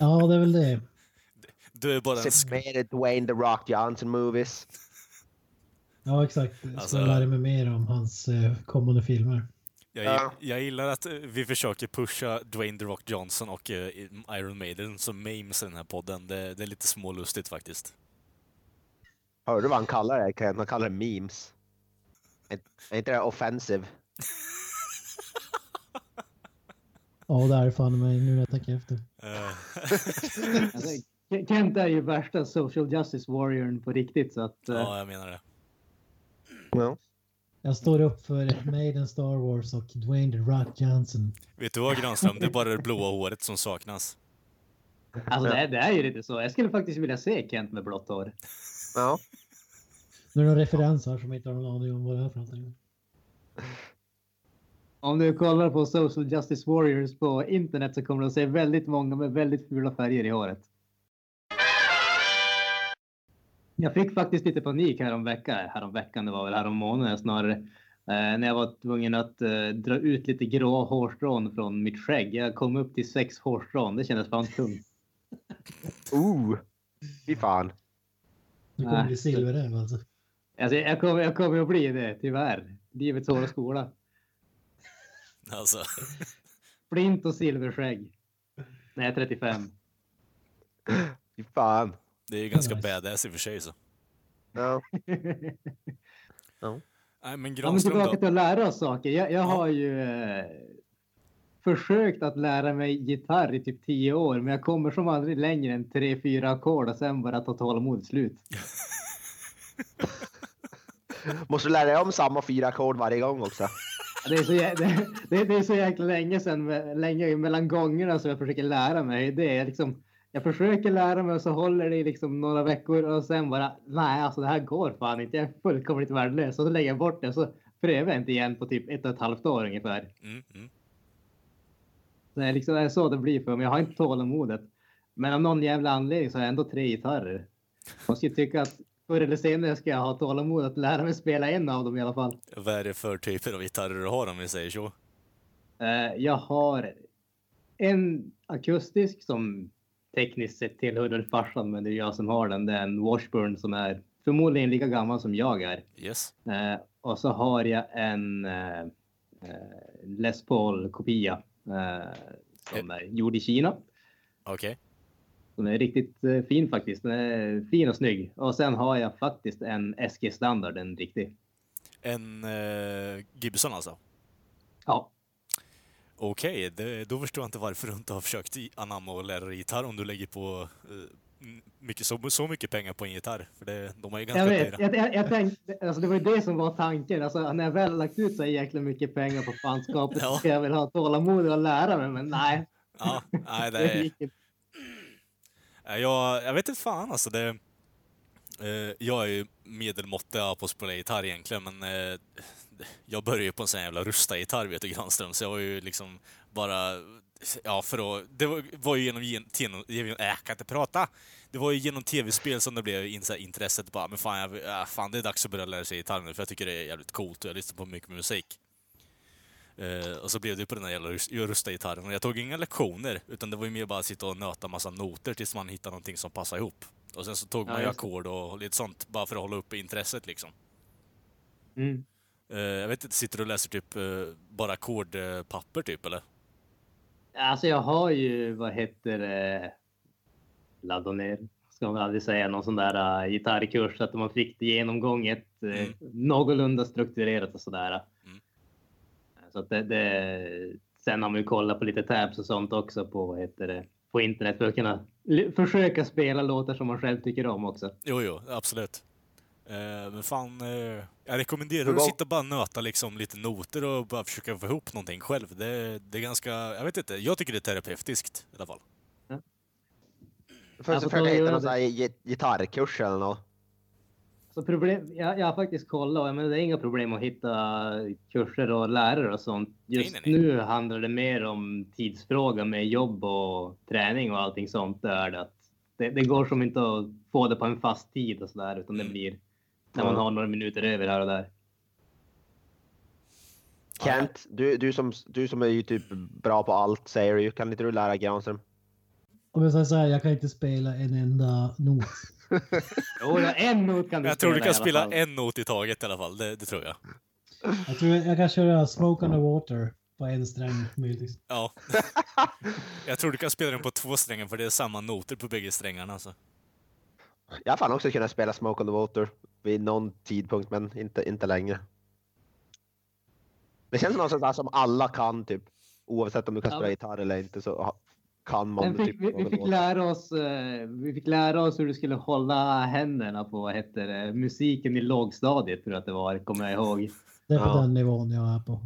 [SPEAKER 4] Ja, det är väl det.
[SPEAKER 1] du är bara en
[SPEAKER 3] Se
[SPEAKER 1] sk-
[SPEAKER 3] mer Dwayne The Rock Johnson movies.
[SPEAKER 4] Ja, exakt. Jag ska
[SPEAKER 1] Alltså-
[SPEAKER 4] lära mig mer om hans eh, kommande filmer.
[SPEAKER 1] jag,
[SPEAKER 3] Ja.
[SPEAKER 1] gi- jag gillar att eh, vi försöker pusha Dwayne The Rock Johnson och eh, Iron Maiden som memes i den här podden. Det, det är lite smålustigt faktiskt.
[SPEAKER 3] Hörde du vad han kallar det? Kent? Han kallar det memes. Är- Är inte det offensive?
[SPEAKER 4] Ja, det är fan mig nu när jag tänker efter.
[SPEAKER 1] Eh, [LAUGHS]
[SPEAKER 2] Alltså, Ke- Kent är ju värsta social justice warriorn på riktigt. Så att, eh,
[SPEAKER 1] ja, jag menar det.
[SPEAKER 3] Ja.
[SPEAKER 4] Jag står upp för Maiden, Star Wars och Dwayne The Rock Johnson.
[SPEAKER 1] Vet du vad Granström, det är bara det blåa håret som saknas.
[SPEAKER 2] alltså, det, är- det är ju lite så. Jag skulle faktiskt vilja se Kent med blått hår.
[SPEAKER 3] ja.
[SPEAKER 4] Nu är det några referenser här som jag inte har någon aning om vad det är för någonting.
[SPEAKER 2] Om du kollar på social justice warriors på internet så kommer du att se väldigt många med väldigt fula färger i håret. Jag fick faktiskt lite panik häromveckan, häromveckan det var väl härommånaden snarare, eh, när jag var tvungen att eh, dra ut lite grå hårstrån från mitt skägg. Jag kom upp till sex hårstrån, det kändes fan tungt.
[SPEAKER 3] Ooh. Fy fan.
[SPEAKER 4] Du kommer
[SPEAKER 2] Nej.
[SPEAKER 4] bli silverräv alltså.
[SPEAKER 2] Alltså, jag, kommer, jag kommer att bli det, tyvärr. Livets hårda skola.
[SPEAKER 1] Alltså,
[SPEAKER 2] Flint och silverskägg. När jag är 35. [LAUGHS]
[SPEAKER 3] Fy fan.
[SPEAKER 1] det är ju ganska
[SPEAKER 4] Nice.
[SPEAKER 1] badass i och för sig så.
[SPEAKER 3] Ja.
[SPEAKER 1] Nej, men
[SPEAKER 2] Ja, men
[SPEAKER 1] Granström
[SPEAKER 2] tillbaka
[SPEAKER 1] då?
[SPEAKER 2] till att lära oss saker. Jag, jag har ju eh, försökt att lära mig gitarr i typ tio år, men jag kommer som aldrig längre än tre, fyra ackord och sen bara ta tålamod slut.
[SPEAKER 3] Måste du lära dig om samma fyra ackord varje gång också?
[SPEAKER 2] [LAUGHS] Det är så, jä- [LAUGHS] det, det, det är så jäkla länge sedan, me- länge mellan gångerna som jag försöker lära mig. Det är liksom, jag försöker lära mig och så håller det i liksom några veckor och sen bara, nej alltså det här går fan inte, jag är fullkomligt värdelös. Och så lägger jag bort det och så prövar jag inte igen på typ ett och ett halvt år ungefär.
[SPEAKER 1] Mm, mm.
[SPEAKER 2] Så det är liksom det är så det blir för mig. Jag har inte tålamodet. Men av någon jävla anledning så har jag ändå tre gitarrer. Man ska ju tycka att förr eller senare ska jag ha tålamod att lära mig spela en av dem i alla fall.
[SPEAKER 1] Vad är det för typer av gitarrer du har om vi säger så?
[SPEAKER 2] Eh, jag har en akustisk som tekniskt sett tillhör väl farsan, men det är jag som har den. Det är en Washburn som är förmodligen lika gammal som jag är.
[SPEAKER 1] Yes.
[SPEAKER 2] Eh, och så har jag en eh, eh, Les Paul-kopia eh, som är gjord i Kina.
[SPEAKER 1] Okej.
[SPEAKER 2] Den är riktigt eh, fin faktiskt. Den är fin och snygg. Och sen har jag faktiskt en SG standard, en riktig.
[SPEAKER 1] En eh, Gibson alltså?
[SPEAKER 2] Ja,
[SPEAKER 1] Okej, det- då förstår jag inte varför du inte har försökt i- anamma och lära dig gitarr om du lägger på eh, m- mycket, så, så mycket pengar på en gitarr. För det, de är ju ganska
[SPEAKER 2] jag vet.
[SPEAKER 1] dyra.
[SPEAKER 2] Jag, jag, jag tänkte, alltså det var ju det som var tanken. Alltså, när jag väl lagt ut så jäkla mycket pengar på fanskapet
[SPEAKER 1] [LAUGHS] Ja.
[SPEAKER 2] så ska jag väl ha tålamod och lära mig. Men nej,
[SPEAKER 1] Ja, nej,
[SPEAKER 2] [LAUGHS]
[SPEAKER 1] det
[SPEAKER 2] det
[SPEAKER 1] är,
[SPEAKER 2] gick inte.
[SPEAKER 1] Nej, Eh, Jag, jag vet inte fan alltså. Det, eh, jag är ju medelmåtta på att spela gitarr egentligen, men eh, jag började ju på en sån jävla rusta-gitarr vet du, Granström, så jag var ju liksom bara... Ja, för att, det var, var ju genom... gen- genom genom- äh, jag kan inte prata! Det var ju genom tv-spel som det blev in, så här, intresset bara, men fan, jag, äh, fan, det är dags att börja lära sig gitarr nu, för jag tycker det är jävligt coolt och jag lyssnar på mycket musik. Eh, och så blev det ju på den där jävla rus- rusta gitarren. Och jag tog inga lektioner, utan det var ju mer bara att sitta och nöta massa noter tills man hittade någonting som passade ihop. Och sen så tog
[SPEAKER 2] Ja,
[SPEAKER 1] man ju
[SPEAKER 2] just det.
[SPEAKER 1] ackord och lite sånt, bara för att hålla uppe intresset liksom.
[SPEAKER 2] Mm.
[SPEAKER 1] Eh, jag vet inte, sitter du och läser typ eh, bara ackordpapper typ eller?
[SPEAKER 2] Alltså jag har ju, vad heter det, ladda ner. Ska man aldrig säga någon sån där eh, gitarrkurs så att man fick det genomgånget eh,
[SPEAKER 1] Mm.
[SPEAKER 2] någorlunda strukturerat och sådär.
[SPEAKER 1] Mm.
[SPEAKER 2] Så att det, det, sen har man ju kollat på lite tabs och sånt också på, vad heter det, på internet för att kunna l- försöka spela låtar som man själv tycker om också.
[SPEAKER 1] Jo, jo, absolut. Eh, men fan, eh, jag rekommenderar
[SPEAKER 3] Hur
[SPEAKER 1] att
[SPEAKER 3] lång-
[SPEAKER 1] sitta och bara nöta liksom lite noter och bara försöka få ihop någonting själv. Det, det är ganska, jag vet inte, jag tycker det är terapeutiskt i alla fall.
[SPEAKER 3] Först
[SPEAKER 2] Alltså,
[SPEAKER 3] försöker jag
[SPEAKER 2] då
[SPEAKER 3] hitta
[SPEAKER 2] gör
[SPEAKER 3] någon sån
[SPEAKER 2] det.
[SPEAKER 3] här git- gitarrkurs eller något.
[SPEAKER 2] Så problem, jag, jag har faktiskt kollat och jag menar, det är inga problem att hitta kurser och lärare och sånt. Just
[SPEAKER 1] Nej, nej, nej.
[SPEAKER 2] nu handlar det mer om tidsfråga med jobb och träning och allting sånt. Där det, att det, det går som inte att få det på en fast tid och sådär utan det
[SPEAKER 1] Mm.
[SPEAKER 2] blir när man
[SPEAKER 3] Ja.
[SPEAKER 2] har några minuter över här och där.
[SPEAKER 3] Kent, du, du, som, du som är ju typ bra på allt säger du ju. Kan inte du lära Granström?
[SPEAKER 4] Om jag säger så här, jag kan inte spela en enda not.
[SPEAKER 2] Jo, ja, en not kan du
[SPEAKER 1] Jag tror du
[SPEAKER 2] i
[SPEAKER 1] kan
[SPEAKER 2] alla
[SPEAKER 1] spela
[SPEAKER 2] fall.
[SPEAKER 1] en not i taget i alla fall, det, det tror jag.
[SPEAKER 4] Jag tror jag kan köra Smoke on the Water på en sträng möjligtvis.
[SPEAKER 3] [LAUGHS]
[SPEAKER 1] Ja. jag tror du kan spela den på två strängar för det är samma noter på bägge strängarna. Alltså.
[SPEAKER 3] Jag har fan också kunnat spela Smoke on the Water vid någon tidpunkt, men inte, inte längre. Det känns någonstans där som alla kan typ. Oavsett om du kan
[SPEAKER 2] Ja,
[SPEAKER 3] spela
[SPEAKER 2] men-
[SPEAKER 3] gitarr eller inte så ha- kan man
[SPEAKER 2] Men
[SPEAKER 3] typ
[SPEAKER 2] fick, vi,
[SPEAKER 3] Smoke
[SPEAKER 2] vi,
[SPEAKER 3] on the
[SPEAKER 2] fick
[SPEAKER 3] Water.
[SPEAKER 2] lära oss, eh, vi fick lära oss hur du skulle hålla händerna på vad heter det, musiken i lågstadiet, tror jag att det var, kommer jag ihåg.
[SPEAKER 4] Det är på
[SPEAKER 3] Ja.
[SPEAKER 4] den nivån jag är på.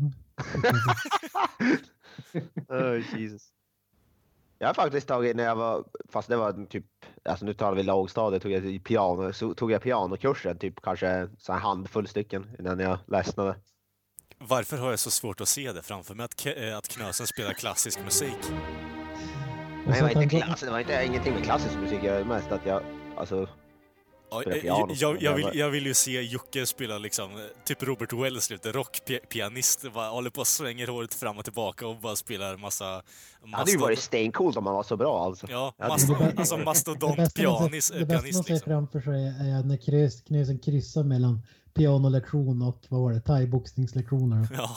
[SPEAKER 3] Oh, Jesus. Jag har faktiskt tagit när jag var, fast det var typ, alltså nu talar vi lågstadiet, tog jag i piano, så tog jag pianokursen typ kanske så här handfull stycken innan jag ledsnade.
[SPEAKER 1] Varför har jag så svårt att se det framför mig, att, Ke- eh, att Knösen spelar klassisk musik?
[SPEAKER 3] Nej, det var inte klass, det var inte ingenting med klassisk musik, jag är mest att jag, alltså,
[SPEAKER 1] Ja,
[SPEAKER 3] Spela
[SPEAKER 1] eh,
[SPEAKER 3] piano.
[SPEAKER 1] jag, jag, vill, jag vill ju se Jocke spela liksom, eh, typ Robert Wells, lite rockpianist, bara håller på och svänger håret fram och tillbaka och bara spelar massa...
[SPEAKER 3] det hade ju
[SPEAKER 1] mastod-
[SPEAKER 3] varit stencoolt om man var så bra alltså.
[SPEAKER 1] Ja,
[SPEAKER 3] Ja, det-
[SPEAKER 1] mastod,
[SPEAKER 3] [LAUGHS]
[SPEAKER 1] alltså
[SPEAKER 4] Det
[SPEAKER 1] mastodont
[SPEAKER 4] bästa man
[SPEAKER 1] pianist,
[SPEAKER 4] ser, det
[SPEAKER 1] eh,
[SPEAKER 4] bästa man
[SPEAKER 1] pianist
[SPEAKER 4] ser
[SPEAKER 1] liksom.
[SPEAKER 4] framför sig är när krös- knösen kryssar mellan pianolektion och vad var det, thaiboxningslektioner.
[SPEAKER 1] Ja.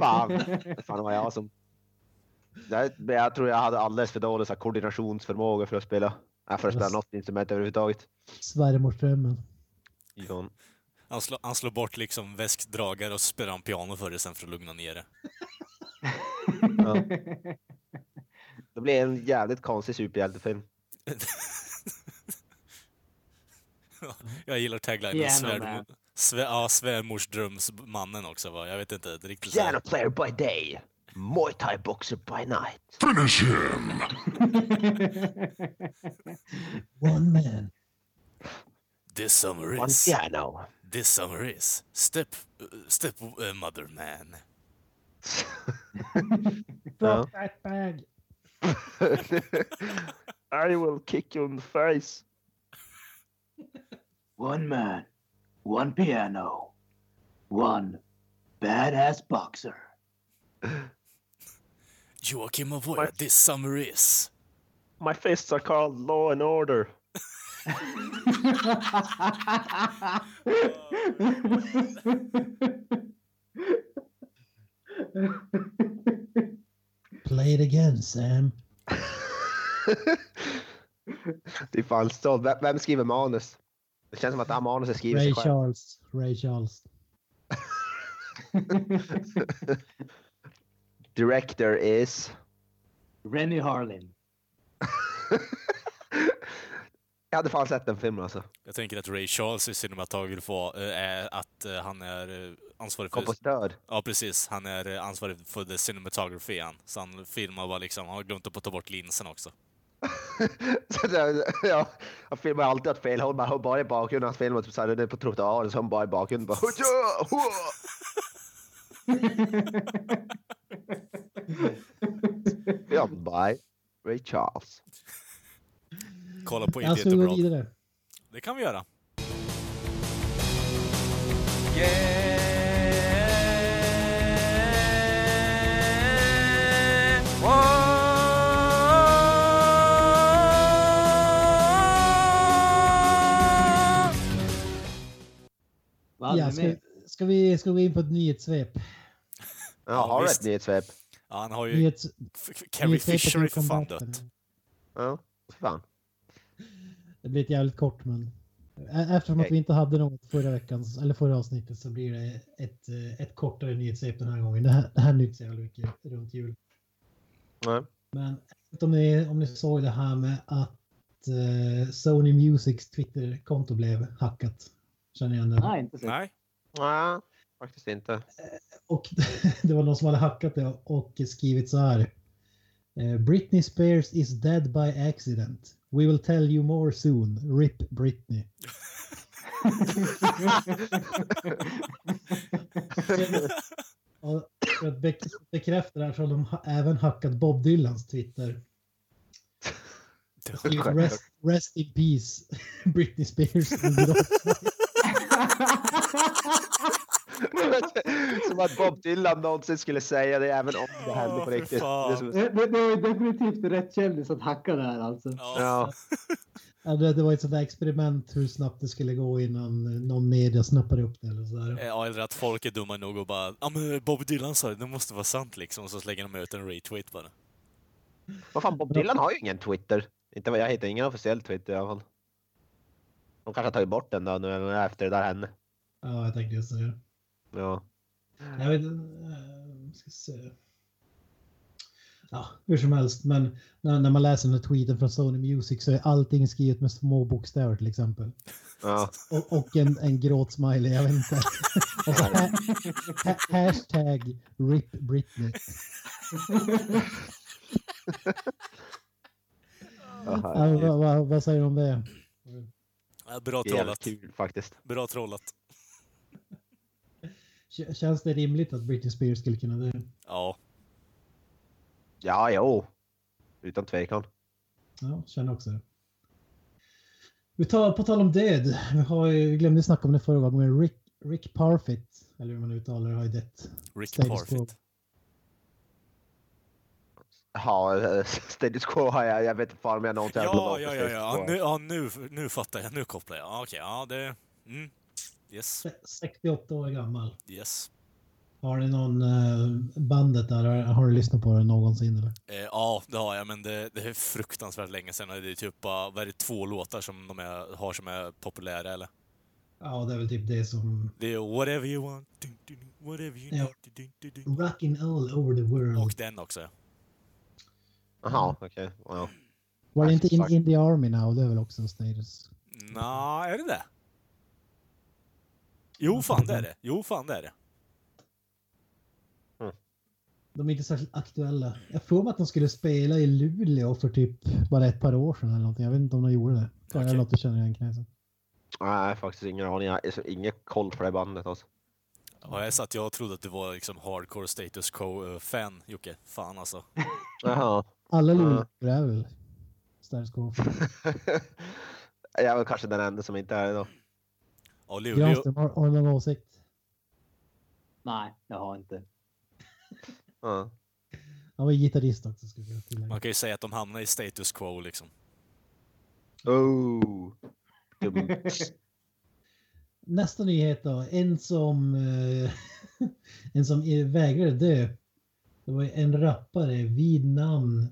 [SPEAKER 3] Fan, [LAUGHS] fan var jag som... Jag, jag tror jag hade alldeles för dålig så här, koordinationsförmåga för att spela, äh, för att spela något instrument överhuvudtaget.
[SPEAKER 4] Svärmorsdrömmen.
[SPEAKER 3] Ifrån.
[SPEAKER 1] Han slår, han slår bort liksom väskdragare och spelar en piano för det sen för att lugna ner det.
[SPEAKER 2] [LAUGHS]
[SPEAKER 3] Ja. Det blir en jävligt konstig superhjältefilm.
[SPEAKER 1] Jag gillar taglinen
[SPEAKER 2] Piano
[SPEAKER 1] svär,
[SPEAKER 2] Man.
[SPEAKER 1] svär, ja, svärmorsdrömsmannen också va? Jag vet inte, det är riktigt så här-
[SPEAKER 3] Piano player by day, Muay Thai boxer by night.
[SPEAKER 4] One man.
[SPEAKER 1] This summer
[SPEAKER 3] One
[SPEAKER 1] is,
[SPEAKER 3] piano.
[SPEAKER 1] this summer is, step, uh, step uh, mother man.
[SPEAKER 4] Drop that bag.
[SPEAKER 3] [LAUGHS] I will kick you in the face.
[SPEAKER 6] One man, one piano, one badass boxer.
[SPEAKER 1] Joakim Avoya, this summer is.
[SPEAKER 3] My fists are called law and order.
[SPEAKER 4] Play it again, Sam.
[SPEAKER 3] [LAUGHS] Det är fan stolt. Vem- Vem skriver manus? Det känns som att det här manuset skriver sig
[SPEAKER 4] Ray
[SPEAKER 3] själv.
[SPEAKER 4] Charles. Ray Charles.
[SPEAKER 3] Director is...
[SPEAKER 2] Rennie Harlin.
[SPEAKER 3] Jag hade fan sett den filmen alltså.
[SPEAKER 1] Jag tänker att Ray Charles i cinematograf var, eh, är att eh, han är eh, ansvarig för...
[SPEAKER 3] Kompositör.
[SPEAKER 1] Ja, precis. Han är eh, ansvarig för the cinematography han. Så han filmar bara liksom, han har glömt att ta bort linsen också.
[SPEAKER 3] [LAUGHS] Så det- ja, han filmar alltid åt fel håll. Man hör bara i bakgrunden hans film. och Typ såhär, den är på trottoaren. Så hon bara i bakgrunden bara... "Hurra, [LAUGHS] hurra." Filmed by Ray Charles.
[SPEAKER 1] Kolla på
[SPEAKER 4] Jag ska vi gå
[SPEAKER 1] Idiot
[SPEAKER 4] vidare.
[SPEAKER 1] Det kan vi göra.
[SPEAKER 2] Vad hade
[SPEAKER 4] Ja,
[SPEAKER 2] vi
[SPEAKER 4] ska,
[SPEAKER 2] mer?
[SPEAKER 4] ska, vi, ska vi in på ett nyhetssvep?
[SPEAKER 3] Ja,
[SPEAKER 1] Ja,
[SPEAKER 3] har du
[SPEAKER 1] visst.
[SPEAKER 3] ett nyhetssvep?
[SPEAKER 1] Ja, han har ju...
[SPEAKER 4] Nyhets,
[SPEAKER 1] F- f- Carrie
[SPEAKER 4] nyhetssvepet
[SPEAKER 1] Fisher är
[SPEAKER 4] vi
[SPEAKER 1] för
[SPEAKER 4] kom
[SPEAKER 1] fan
[SPEAKER 4] back
[SPEAKER 1] dött.
[SPEAKER 4] med.
[SPEAKER 3] Ja, för fan.
[SPEAKER 4] Det blir ett jävligt kort men. e- Eftersom att
[SPEAKER 3] Okej.
[SPEAKER 4] vi inte hade något förra veckans, eller förra avsnittet så blir det ett, eh, ett kortare nyhetssvep den här gången. Det här, det här nytt så jävla mycket runt jul.
[SPEAKER 3] Nej.
[SPEAKER 4] Men jag vet inte om ni, om ni såg det här med att eh, Sony Musics Twitterkonto blev hackat. Känner igen det?
[SPEAKER 2] Nej, Ah, inte så.
[SPEAKER 1] Nej.
[SPEAKER 3] Nej, faktiskt inte.
[SPEAKER 4] Och [LAUGHS] det var någon som hade hackat det och skrivit så här. eh, Britney Spears is dead by accident. We will tell you more soon. RIP Britney. Och för att bek- bekräfta det här så har de ha- även hackat Bob Dylans Twitter.
[SPEAKER 3] [LAUGHS]
[SPEAKER 4] Skrivit Rest, rest in peace [LAUGHS] Britney Spears.
[SPEAKER 3] som att Bob Dylan någonsin skulle säga det även om det hände
[SPEAKER 1] Ja,
[SPEAKER 3] på
[SPEAKER 1] för
[SPEAKER 3] riktigt.
[SPEAKER 1] fan.
[SPEAKER 3] Det är som-
[SPEAKER 2] [LAUGHS] Det, det, det var ju definitivt rätt kändis att hacka det här alltså.
[SPEAKER 1] Ja.
[SPEAKER 3] Ja,
[SPEAKER 4] Ja, det det var ett sånt där experiment hur snabbt det skulle gå innan eh, någon media snappade upp det. Eller så där.
[SPEAKER 1] Eh, Ja, eller att folk är dumma nog och bara ja men Bob Dylan sa det, det måste vara sant liksom. Och så slänger de ut en retweet bara.
[SPEAKER 3] vad fan, Bob Dylan har ju ingen Twitter. Inte vad jag hittar, ingen officiell Twitter i alla fall. De kanske har tagit bort den då nu eller efter det där hände.
[SPEAKER 4] Ja, jag tänkte just det.
[SPEAKER 3] Ja.
[SPEAKER 4] Jag vet eh, ska se. Ja, hur som helst, men när, när man läser den här tweeten från Sony Music så är allting skrivet med små bokstäver till exempel.
[SPEAKER 1] [LAUGHS]
[SPEAKER 3] Ja.
[SPEAKER 4] Och, och en, en gråtsmiley, jag vet inte. Och så ha, ha, hashtag RIP Britney.
[SPEAKER 3] Ja,
[SPEAKER 4] Ja,
[SPEAKER 3] det är
[SPEAKER 4] vad, vad, vad säger du om det?
[SPEAKER 1] Ja, Bra
[SPEAKER 3] jävligt
[SPEAKER 1] trollat.
[SPEAKER 3] kul faktiskt.
[SPEAKER 1] Bra trollat.
[SPEAKER 4] K- Känns det rimligt att Britney Spears skulle kunna dö?
[SPEAKER 1] Ja.
[SPEAKER 3] Ja, jo. Utan tvekan.
[SPEAKER 4] Ja, känner också det. Vi tar, på tal om död, vi, har, ju- vi glömde snacka om det förra gången, Rick, Rick Parfitt, eller hur man uttalar det, har ju dött.
[SPEAKER 1] Rick
[SPEAKER 4] Status
[SPEAKER 1] Parfit.
[SPEAKER 4] quo.
[SPEAKER 3] Ja, [LAUGHS] eh, status quo har jag. Jag vet inte fan om jag någonsin har
[SPEAKER 1] Ja, ja, ja,
[SPEAKER 3] blommat på
[SPEAKER 1] ja.
[SPEAKER 3] status
[SPEAKER 1] ja.
[SPEAKER 3] quo.
[SPEAKER 1] Nu, ja nu, nu fattar jag. Nu kopplar jag. Ja, Okej, ja det... Mm. Yes,
[SPEAKER 4] Se- 68 år gammal.
[SPEAKER 1] yes.
[SPEAKER 4] Har ni någon eh, bandet där? Har, har du lyssnat på det någonsin? Eller?
[SPEAKER 1] Eh, ja, det har jag, men det, det är fruktansvärt länge sedan. och Det är typ bara, vad är det, två låtar som de är, har som är populära, eller?
[SPEAKER 4] Ja, det är väl typ det som...
[SPEAKER 1] Det är whatever you want, dun, dun, dun, whatever you
[SPEAKER 4] Ja.
[SPEAKER 1] need. dun, dun, dun, dun.
[SPEAKER 4] Rockin' all over the
[SPEAKER 1] Och
[SPEAKER 4] world.
[SPEAKER 1] den också.
[SPEAKER 3] Jaha, okej. Ja.
[SPEAKER 4] Var det inte in,
[SPEAKER 3] Fuck.
[SPEAKER 4] in the Army now? Det är väl också en status?
[SPEAKER 1] Nå, är det det? Jo, fan det är det. Jo, fan det är det.
[SPEAKER 4] De är inte särskilt aktuella. Jag får mig att de skulle spela i Luleå för typ bara ett par år sedan eller någonting. Jag vet inte om de gjorde det. Bara
[SPEAKER 1] Okej.
[SPEAKER 4] något du känner igen knäsen.
[SPEAKER 3] Nej, faktiskt ingen aning. Jag har ingen koll på det bandet alltså.
[SPEAKER 1] Ja, jag satt jag och trodde att du var liksom hardcore status quo-fan, Jocke. Fan alltså.
[SPEAKER 3] Jaha. [LAUGHS]
[SPEAKER 4] Alla
[SPEAKER 1] Mm.
[SPEAKER 3] Ja.
[SPEAKER 4] Luleå är väl Status Quo.
[SPEAKER 3] jag är väl kanske den enda som inte är det då.
[SPEAKER 1] Ja, Luleå.
[SPEAKER 4] Granström, har, har du någon åsikt?
[SPEAKER 2] Nej, jag har inte.
[SPEAKER 3] Ja.
[SPEAKER 4] Han var ju gitarrist också skulle jag tillägga.
[SPEAKER 1] Man kan ju säga att de hamnar i status quo liksom.
[SPEAKER 3] Oh. Dum.
[SPEAKER 4] Nästa nyhet då. En som, eh, [LAUGHS] en som eh, vägrade dö. Det var ju en rappare vid namn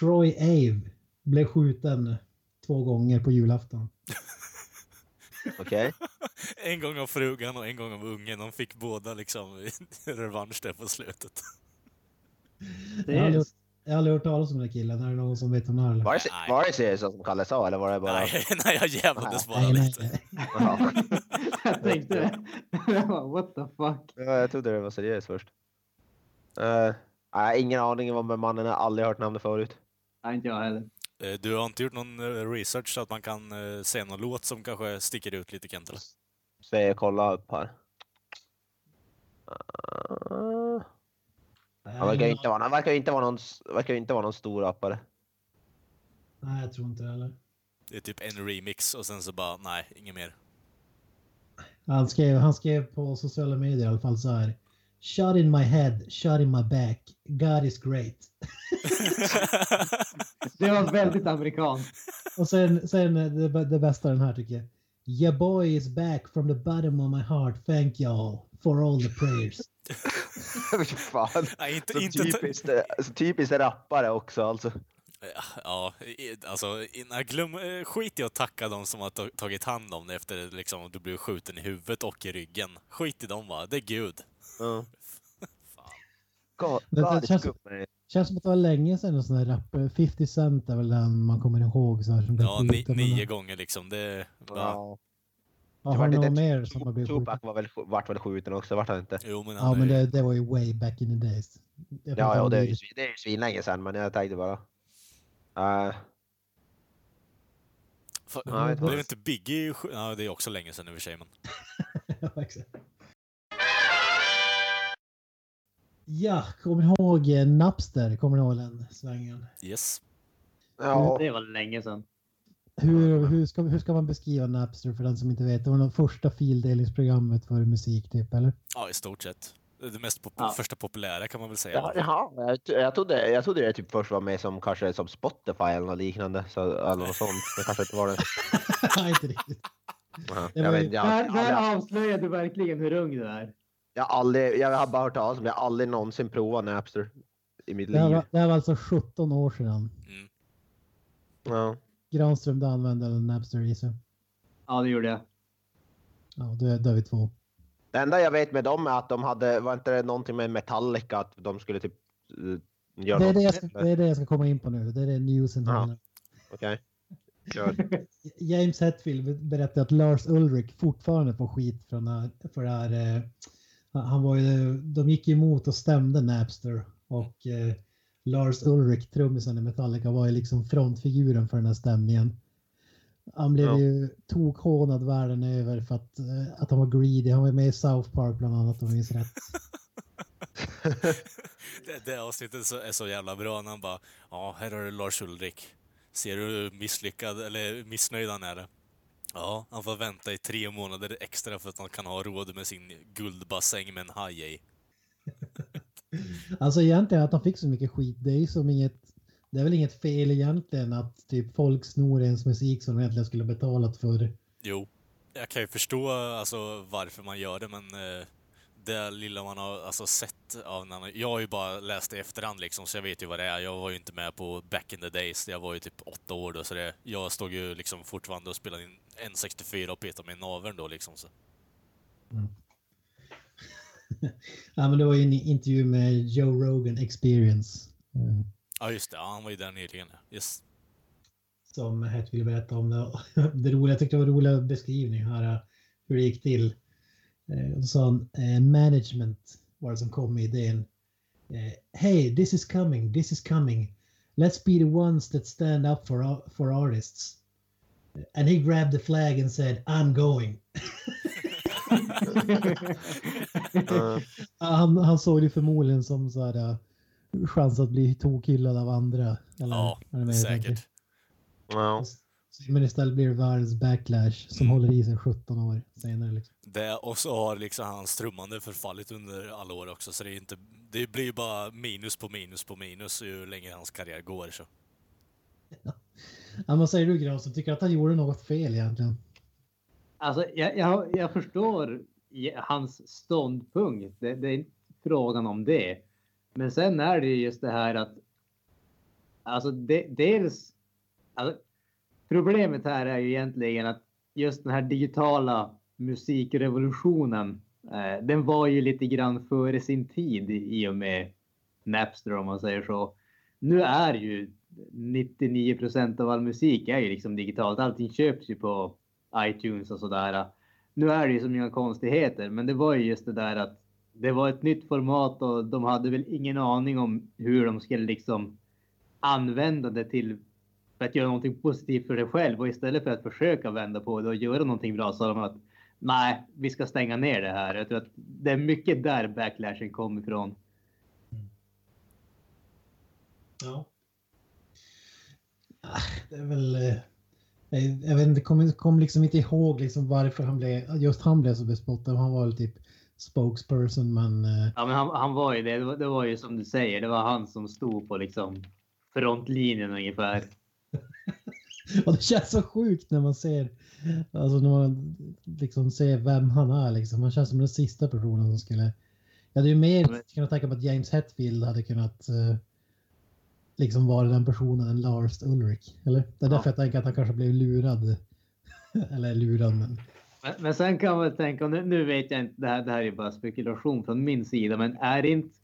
[SPEAKER 4] Troy Ave. Blev skjuten två gånger på julafton.
[SPEAKER 3] Okej.
[SPEAKER 1] En gång av frugan och en gång av ungen. De fick båda liksom [LAUGHS] revansch där på slutet.
[SPEAKER 2] Det
[SPEAKER 4] Jag har,
[SPEAKER 2] är,
[SPEAKER 4] aldrig, jag har aldrig hört talas om den här killen. Är det någon som vet vem han är?
[SPEAKER 3] Var det-
[SPEAKER 1] Nej.
[SPEAKER 3] Var det seriöst som Kalle sa eller var det bara...
[SPEAKER 1] Nej, [LAUGHS] nej, jag jävlades bara
[SPEAKER 4] Nej, nej,
[SPEAKER 1] lite.
[SPEAKER 4] nej.
[SPEAKER 3] [LAUGHS] Ja.
[SPEAKER 2] [LAUGHS] jag tänkte [LAUGHS] det. Jag bara, What the fuck?
[SPEAKER 3] Ja, jag trodde det var seriöst först. Eh, nej, ingen aning om vem mannen är. Aldrig hört namnet förut.
[SPEAKER 2] Nej, inte jag heller.
[SPEAKER 1] Eh, Du har inte gjort någon eh, research så att man kan eh, säga någon låt som kanske sticker ut lite, Kent? Eller?
[SPEAKER 3] Så jag kollar upp här. Eh, han verkar ju inte vara, han verkar ju inte vara någon, s- verkar ju inte vara någon stor rappare. [LAUGHS]
[SPEAKER 4] Nej, jag tror inte det heller.
[SPEAKER 1] Det är typ en remix och sen så bara, nej, inget mer.
[SPEAKER 4] Han skrev, han skrev på sociala medier i alla fall så här. Shot in my head, shot in my back. God is great.
[SPEAKER 2] Det var väldigt amerikanskt.
[SPEAKER 4] Och sen, sen det, bä- det bästa den här tycker jag. Your boy is back from the bottom of my heart. Thank you all for all the
[SPEAKER 3] [LAUGHS]
[SPEAKER 4] prayers.
[SPEAKER 3] Fy fan. [LAUGHS]
[SPEAKER 1] nej, inte,
[SPEAKER 3] Så
[SPEAKER 1] inte
[SPEAKER 3] typiskt, eh, så typiskt rappare också alltså.
[SPEAKER 1] Ja, i- alltså, i- nej, glöm, eh, skit i att tacka dem som har ta- tagit hand om dig efter liksom, att du blev skjuten i huvudet och i ryggen. Skit i dem va, det är gud.
[SPEAKER 3] Uh.
[SPEAKER 1] Fan.
[SPEAKER 3] God,
[SPEAKER 4] Men det
[SPEAKER 3] God
[SPEAKER 4] känns-
[SPEAKER 3] is good, man.
[SPEAKER 4] Känns som att det var länge sedan en sån här rappare. 50 Cent är väl den man kommer ihåg. Så här, som blev
[SPEAKER 1] Ja, ni,
[SPEAKER 4] skjuten.
[SPEAKER 1] nio gånger liksom. Det, ja.
[SPEAKER 3] Ja.
[SPEAKER 4] Ja,
[SPEAKER 3] Det
[SPEAKER 4] Har
[SPEAKER 3] vart
[SPEAKER 4] du
[SPEAKER 3] inte
[SPEAKER 4] någon
[SPEAKER 3] ett-
[SPEAKER 4] mer som har blivit skjuten?
[SPEAKER 3] Tupac var väl, vart väl skjuten också, vart han inte?
[SPEAKER 1] Jo, men,
[SPEAKER 4] Ja,
[SPEAKER 1] han
[SPEAKER 4] men
[SPEAKER 1] är-
[SPEAKER 4] det, det var ju way back in the days. Jag
[SPEAKER 3] Ja,
[SPEAKER 4] pratar
[SPEAKER 3] ja
[SPEAKER 4] om
[SPEAKER 3] det är ju
[SPEAKER 4] Lil-
[SPEAKER 3] svin- det är ju svinlänge sedan, men jag tänkte bara. Eh,
[SPEAKER 1] Fa-
[SPEAKER 3] Ja, jag vet
[SPEAKER 1] blev
[SPEAKER 3] inte.
[SPEAKER 1] inte Biggie sj- Ja, det är också länge sedan i och för sig. Men...
[SPEAKER 4] [LAUGHS] Ja, exakt. Ja, kommer ni ihåg eh, Napster? Kommer ni ihåg den svängen?
[SPEAKER 1] Yes.
[SPEAKER 3] ja.
[SPEAKER 2] Det var länge sedan.
[SPEAKER 4] Hur, hur, ska, hur ska man beskriva Napster för den som inte vet? Det var det första fildelningsprogrammet för musik typ, eller? [LAUGHS]
[SPEAKER 1] Ja, i stort sett. Det mest pop-
[SPEAKER 2] Ja.
[SPEAKER 1] första populära kan man väl säga.
[SPEAKER 3] Jaha, jaha. Jag, t- jag, trodde, jag trodde det typ först var med som kanske som Spotify eller något liknande. Så, eller något sånt. Det kanske inte var
[SPEAKER 4] [LAUGHS]
[SPEAKER 3] det.
[SPEAKER 4] Nej, inte riktigt.
[SPEAKER 3] Jaha,
[SPEAKER 4] Det var
[SPEAKER 3] Jag, vet,
[SPEAKER 4] ju-
[SPEAKER 3] inte, jag,
[SPEAKER 2] Där,
[SPEAKER 3] jag, jag,
[SPEAKER 2] där avslöjar du verkligen hur ung du är.
[SPEAKER 3] jag, har aldrig, jag har bara hört talas om det. Jag har aldrig någonsin provat Napster i mitt
[SPEAKER 4] Det här,
[SPEAKER 3] liv.
[SPEAKER 4] var, det här var alltså 17 år sedan.
[SPEAKER 3] Ja.
[SPEAKER 4] Granström, du använde väl Napster gissar jag?
[SPEAKER 2] Ja, det gjorde jag.
[SPEAKER 4] Ja, då är, då är vi två.
[SPEAKER 3] Det enda jag vet med dem är att de hade, var inte det någonting med Metallica att de skulle typ eh, göra
[SPEAKER 4] Det är
[SPEAKER 3] något?
[SPEAKER 4] det, jag ska, det är det jag ska komma in på nu. Det är det newsen
[SPEAKER 3] Ja.
[SPEAKER 4] handlar om.
[SPEAKER 3] Okej.
[SPEAKER 4] [LAUGHS]
[SPEAKER 3] Kör.
[SPEAKER 4] James Hetfield berättade att Lars Ulrich fortfarande får skit från det här, för det här. eh, Han var ju, de gick ju emot och stämde Napster och eh, Lars Ulrich, trummisen i Metallica, var ju liksom frontfiguren för den här stämningen. Han blev
[SPEAKER 3] Ja.
[SPEAKER 4] ju tokhånad världen över för att, eh, att han var greedy. Han var med i South Park bland annat om jag minns rätt.
[SPEAKER 1] Det, det avsnittet så, är så jävla bra när han bara Ja, här har du Lars Ulrik. Ser du hur misslyckad, eller missnöjd han är? Ja, han får vänta i tre månader extra för att han kan ha råd med sin guldbassäng med en haj i.
[SPEAKER 4] Alltså egentligen att han fick så mycket skit, det är ju som inget, det är väl inget fel egentligen att typ folk snor ens musik som de egentligen skulle ha betalat för.
[SPEAKER 1] Jo, jag kan ju förstå alltså, varför man gör det, men eh, det lilla man har alltså, sett av när man, Jag har ju bara läst i efterhand liksom, så jag vet ju vad det är. Jag var ju inte med på back in the days. Jag var ju typ åtta år då, så det, jag stod ju liksom fortfarande och spelade in N64 och petade med naveln då liksom. Så.
[SPEAKER 4] Ja, men det var ju en intervju med Joe Rogan Experience. eh,
[SPEAKER 1] Ja, just det. Ja, han var ju där nyligen. ja.
[SPEAKER 4] [LAUGHS]
[SPEAKER 1] Yes.
[SPEAKER 4] som Hett ville berätta om det. Och [LAUGHS] det roliga, jag tyckte det var en rolig beskrivning här eh, hur det gick till. Eh, och så sa han, eh, management var det som kom med idén. Eh, Hey, this is coming, this is coming. Let's be the ones that stand up for, ar- for artists. And he grabbed the flag and said, I'm going. [LAUGHS]
[SPEAKER 3] Eh,
[SPEAKER 4] Ja, Han, han såg det förmodligen som så här, eh, chans att bli tokhyllad av andra. Eller,
[SPEAKER 1] Ja,
[SPEAKER 4] eller vad jag tänker.
[SPEAKER 1] Säkert.
[SPEAKER 3] ja.
[SPEAKER 4] Men istället blir det världens backlash som
[SPEAKER 1] Mm.
[SPEAKER 4] håller i sig 17 år senare. Liksom.
[SPEAKER 1] Det, och så har liksom hans trummande förfallit under alla år också, så det, är inte, det blir ju bara minus på minus på minus ju längre hans karriär går. Så.
[SPEAKER 4] Ja, vad säger du Granström, tycker du att han gjorde något fel egentligen?
[SPEAKER 2] Alltså, jag, jag, jag förstår i- hans ståndpunkt. Det, det är inte frågan om det. Men sen är det ju just det här att. Alltså, de, dels. Alltså, problemet här är ju egentligen att just den här digitala musikrevolutionen. Eh, den var ju lite grann före sin tid i och med Napster om man säger så. Nu är ju 99 av all musik är ju liksom digitalt. Allting köps ju på iTunes och sådär. Nu är det ju som inga konstigheter, men det var ju just det där att det var ett nytt format och de hade väl ingen aning om hur de skulle liksom använda det till för att göra någonting positivt för sig själv och istället för att försöka vända på det och göra någonting bra sa de att nej, vi ska stänga ner det här. Jag tror att det är mycket där backlashen kom ifrån.
[SPEAKER 4] Ja. Det är väl... eh, Jag jag vet inte, kom, kom liksom inte ihåg liksom varför han blev, just han blev så bespottad. Han var väl typ spokesperson men... eh,
[SPEAKER 2] Ja, men han, han var ju det. Det var, det var ju som du säger, det var han som stod på liksom frontlinjen ungefär.
[SPEAKER 4] [LAUGHS] Och det känns så sjukt när man ser, alltså när man liksom ser vem han är liksom. Han känns som den sista personen som skulle... Jag hade ju mer kunnat tänka mig att James Hetfield hade kunnat eh, liksom vara den personen än Lars Ulrich. Eller? Det är därför jag tänker att han kanske blev lurad. [LAUGHS] Eller lurad men...
[SPEAKER 2] Men, men sen kan man väl tänka, och nu, nu vet jag inte, det här, det här är bara spekulation från min sida, men är inte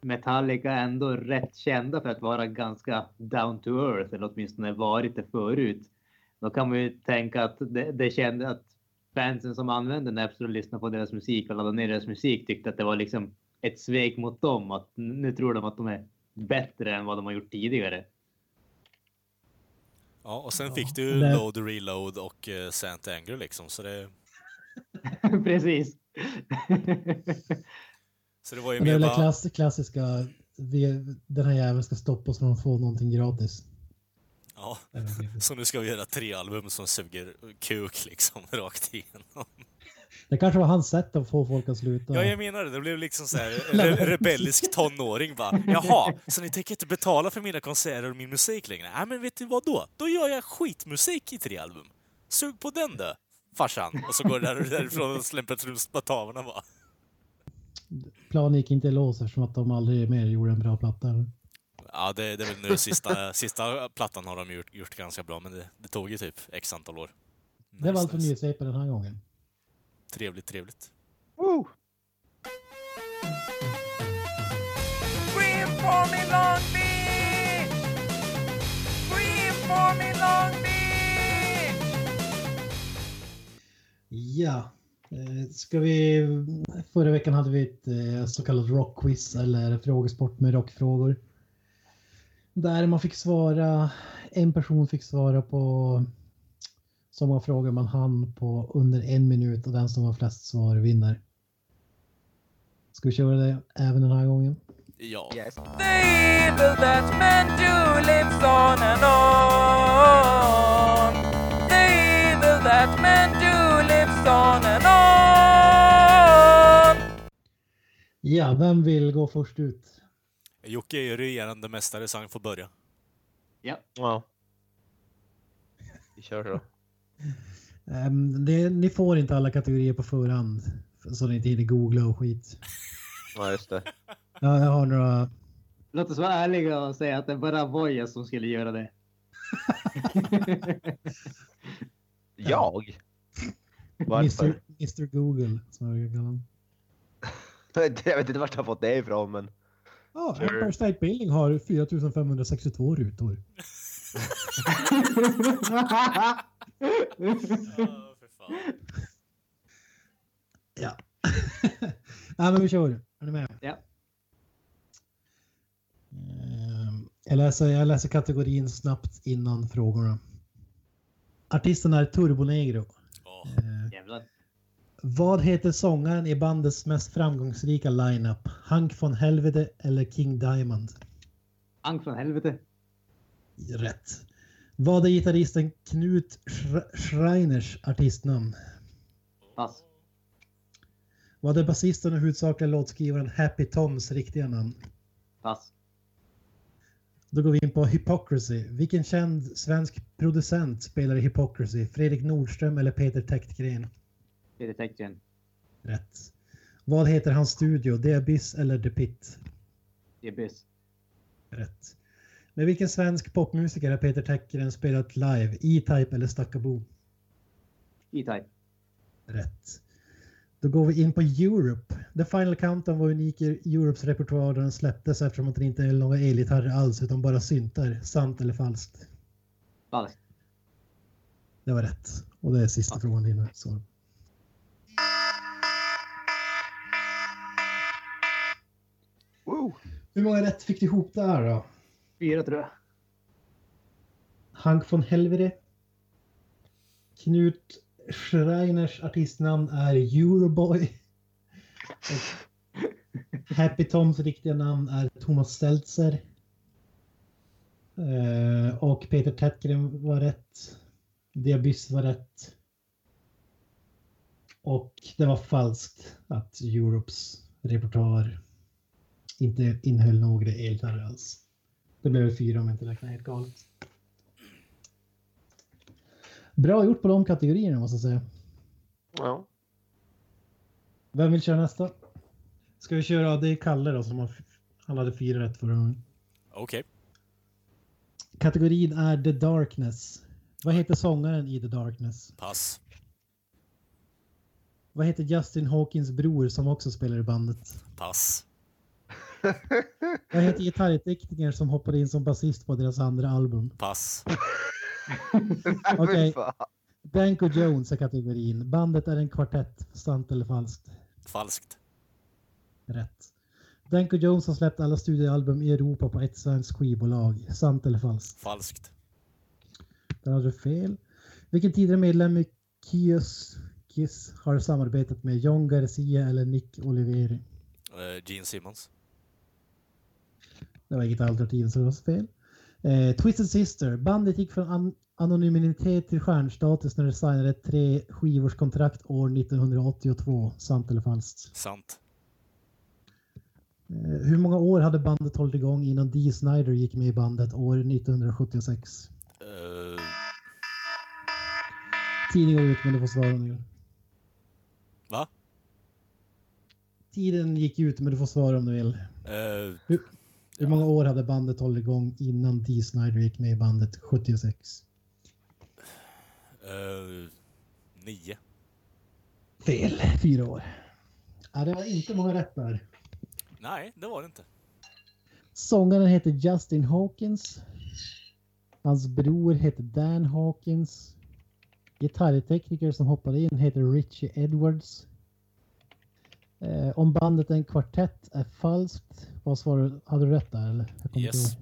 [SPEAKER 2] Metallica ändå rätt kända för att vara ganska down to earth, eller åtminstone varit det förut? Då kan man ju tänka att det, det kände att fansen som använde Napster och lyssnade på deras musik och laddade ner deras musik tyckte att det var liksom ett svek mot dem, att nu tror de att de är bättre än vad de har gjort tidigare. [LAUGHS]
[SPEAKER 1] Ja, och sen
[SPEAKER 4] Ja,
[SPEAKER 1] fick du
[SPEAKER 4] det-
[SPEAKER 1] Load, Reload och uh, Sant Anger liksom, så det,
[SPEAKER 2] Precis. [LAUGHS]
[SPEAKER 1] så det var ju
[SPEAKER 4] Men
[SPEAKER 1] mer
[SPEAKER 4] det är väl det
[SPEAKER 1] bara...
[SPEAKER 4] klass, klassiska, vi, den här jäveln ska stoppa oss från att få någonting
[SPEAKER 1] [LAUGHS]
[SPEAKER 4] gratis.
[SPEAKER 1] Ja, så nu ska vi göra tre album som suger kuk liksom, [LAUGHS] rakt igenom.
[SPEAKER 4] Det kanske var hans sätt att få folk att sluta.
[SPEAKER 1] Ja, jag menar det. Det blev liksom
[SPEAKER 4] [LAUGHS]
[SPEAKER 1] så här re- rebellisk tonåring bara. Jaha, så ni tänker inte betala för mina konserter och min musik längre? Nej, men vet du vad då? Då gör jag skitmusik i tre album. Sug på den då, farsan. Och så går det där- därifrån och släpper trumspataverna bara.
[SPEAKER 4] Planen gick inte i lås eftersom att de aldrig mer gjorde en bra platta.
[SPEAKER 1] Ja, det, det är väl nu sista, sista plattan har de gjort, gjort ganska bra, men det, det tog ju typ x antal år.
[SPEAKER 4] Det var alltså allt för
[SPEAKER 1] Nice, nice.
[SPEAKER 4] nyhetsvepet den här gången.
[SPEAKER 1] Trevligt, trevligt.
[SPEAKER 3] Woo!
[SPEAKER 5] Scream for me, Long Beach! Scream for me, Long Beach!
[SPEAKER 4] Ja, eh, ska vi... Förra veckan hade vi ett eh, så kallat rockquiz eller frågesport med rockfrågor. Där man fick svara, en person fick svara på så många frågor man hann på under en minut och den som har flest svar vinner. Ska vi köra det även den här gången?
[SPEAKER 1] Ja,
[SPEAKER 3] Yes.
[SPEAKER 5] The evil that man do lives on and on. The evil that man do lives on and on.
[SPEAKER 4] Ja, vem vill gå först ut?
[SPEAKER 1] Jocke är ju regerande mästare, så han får börja.
[SPEAKER 2] ja.
[SPEAKER 3] Ja. Vi kör då.
[SPEAKER 4] Ehm, det, ni får inte alla kategorier på förhand. så ni inte hinner googla och skit.
[SPEAKER 3] Ja, just det.
[SPEAKER 4] Ja, jag har några.
[SPEAKER 2] Låt oss vara ärliga och säga att det bara var jag som skulle göra
[SPEAKER 3] [LAUGHS]
[SPEAKER 2] det.
[SPEAKER 3] Jag? [LAUGHS] Varför?
[SPEAKER 4] Mr, Mr Google som jag brukar kalla honom.
[SPEAKER 3] [LAUGHS] jag vet inte vart jag har fått det ifrån, men...
[SPEAKER 4] Ja,
[SPEAKER 3] Sure.
[SPEAKER 4] Empire State Building har 4562 rutor. [LAUGHS]
[SPEAKER 1] Ja, för fan.
[SPEAKER 4] Ja. Nej, men vi kör. Är ni med?
[SPEAKER 2] Ja.
[SPEAKER 4] Ehm, Jag läser, jag läser kategorin snabbt innan frågorna. Artisten är Turbonegro.
[SPEAKER 1] Ja.
[SPEAKER 4] Ehm,
[SPEAKER 2] Jävlar.
[SPEAKER 4] Vad heter sångaren i bandets mest framgångsrika lineup? Hank von Helvete eller King Diamond?
[SPEAKER 2] Ank från helvete.
[SPEAKER 4] Rätt. Vad är gitarristen Knut Schre- Schreiners artistnamn?
[SPEAKER 2] Pass.
[SPEAKER 4] Vad är basisten och huvudsakliga låtskrivaren Happy Toms riktiga namn?
[SPEAKER 2] Pass.
[SPEAKER 4] Då går vi in på Hypocrisy. Vilken känd svensk producent spelar i Hypocrisy? Fredrik Nordström eller Peter Tektgren?
[SPEAKER 2] Det är detection.
[SPEAKER 4] Rätt. Vad heter hans studio? The Abyss eller The Pit?
[SPEAKER 2] Det är buss.
[SPEAKER 4] Rätt. Med vilken svensk popmusiker har Peter Tektgren spelat live? E-Type eller Stakabo?
[SPEAKER 2] E-Type.
[SPEAKER 4] Rätt. Då går vi in på Europe. The Final Countdown var unik i Europes repertoar då den släpptes eftersom att det inte är några elgitarrer alls utan bara syntar. Sant eller falskt?
[SPEAKER 2] Falskt.
[SPEAKER 4] Det var rätt. Och det är sista frågan dina svar.
[SPEAKER 3] Wow.
[SPEAKER 4] Hur många rätt fick du ihop där då?
[SPEAKER 2] Fyra tror jag.
[SPEAKER 4] Hank von Helvede. Knut Schreiners artistnamn är Euroboy. Och Happy Toms riktiga namn är Thomas Stelzer. Eh, och Peter Tätgren var rätt. Diabys var rätt. Och det var falskt att Europes repertoar inte innehöll några elgitarrer alls. Det blev fyra om jag inte räknar helt galet. Bra gjort på de kategorierna måste jag säga.
[SPEAKER 3] Ja.
[SPEAKER 4] Vem vill köra nästa? Ska vi köra, det är Kalle då som har, han hade fyra rätt förra gången.
[SPEAKER 1] Okej.
[SPEAKER 4] Kategorin är The Darkness. Vad heter sångaren i The Darkness?
[SPEAKER 1] Pass.
[SPEAKER 4] Vad heter Justin Hawkins bror som också spelar i bandet?
[SPEAKER 1] Pass.
[SPEAKER 4] Vad heter gitarrteknikern som hoppade in som basist på deras andra album?
[SPEAKER 1] Pass.
[SPEAKER 4] Okej.
[SPEAKER 3] Fy Äh, fan.
[SPEAKER 4] Danko Jones är kategorin. Bandet är en kvartett, sant eller falskt?
[SPEAKER 1] Falskt.
[SPEAKER 4] Rätt. Danko Jones har släppt alla studioalbum i Europa på ett svenskt skivbolag. Sant eller falskt?
[SPEAKER 1] Falskt.
[SPEAKER 4] Där hade du fel. Vilken tidigare medlem i Kios Kiss har samarbetat med John Garcia eller Nick Oliveri?
[SPEAKER 1] Eh, Gene Simmons.
[SPEAKER 4] Det var inget alternativ så det var fel. Eh, Twisted Sister. Bandet gick från an- anonymitet till stjärnstatus när de signade ett tre skivårs kontrakt år 1982. Sant eller falskt?
[SPEAKER 1] Sant.
[SPEAKER 4] Eh, hur många år hade bandet hållit igång innan Dee Snider gick med i bandet år 1976?
[SPEAKER 1] Eh,
[SPEAKER 4] Tiden går ut men du får svara nu.
[SPEAKER 1] va?
[SPEAKER 4] Tiden gick ut men du får svara om du vill.
[SPEAKER 1] Eh,
[SPEAKER 4] Hur många år hade bandet hållit igång innan Dee Snider gick med i bandet 76?
[SPEAKER 1] eh, nio.
[SPEAKER 4] Fel. Fyra år. Ja, det var inte många rätt där.
[SPEAKER 1] Nej, det var det inte.
[SPEAKER 4] Sångaren heter Justin Hawkins. Hans bror heter Dan Hawkins. Gitarrtekniker som hoppade in heter Richie Edwards. Eh, om bandet är en kvartett är falskt. Vad svarade du? Hade du rätt där eller? Jag kommer inte
[SPEAKER 1] Yes.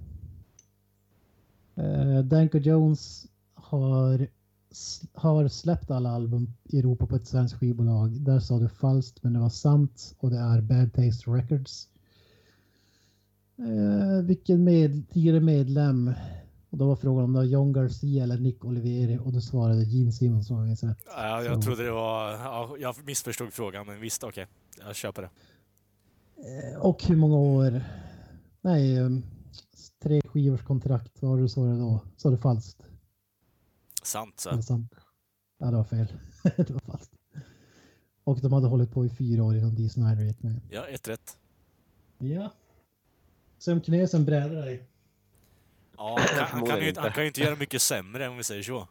[SPEAKER 4] ihåg. Eh, Danko Jones har, s- har släppt alla album i Europa på ett svenskt skivbolag. Där sa du falskt men det var sant och det är Bad Taste Records. Eh, vilken med, tidigare medlem? Och då var frågan om det var John Garcia eller Nick Oliveri och då svarade Gene Simmons om jag minns rätt.
[SPEAKER 1] Ja,
[SPEAKER 4] Så.
[SPEAKER 1] jag trodde det var... Ja, jag missförstod frågan, men visst, okej. Jag köper det.
[SPEAKER 4] Eh, Och hur många år? Nej, eh, tre skivors kontrakt. Vad var det du svarade då? Sa du falskt?
[SPEAKER 1] Sant, så.
[SPEAKER 4] Mm. [LAUGHS] Eller sant? Ja, det var fel. det var falskt. Och de hade hållit på i fyra år innan Dee Snider gick med.
[SPEAKER 1] Ja, ett rätt.
[SPEAKER 4] Ja. Sen knösen brädade dig.
[SPEAKER 1] Ja, han, kan, han, kan ju,
[SPEAKER 3] Förmodligen
[SPEAKER 1] inte- han kan ju inte göra mycket sämre om vi säger så.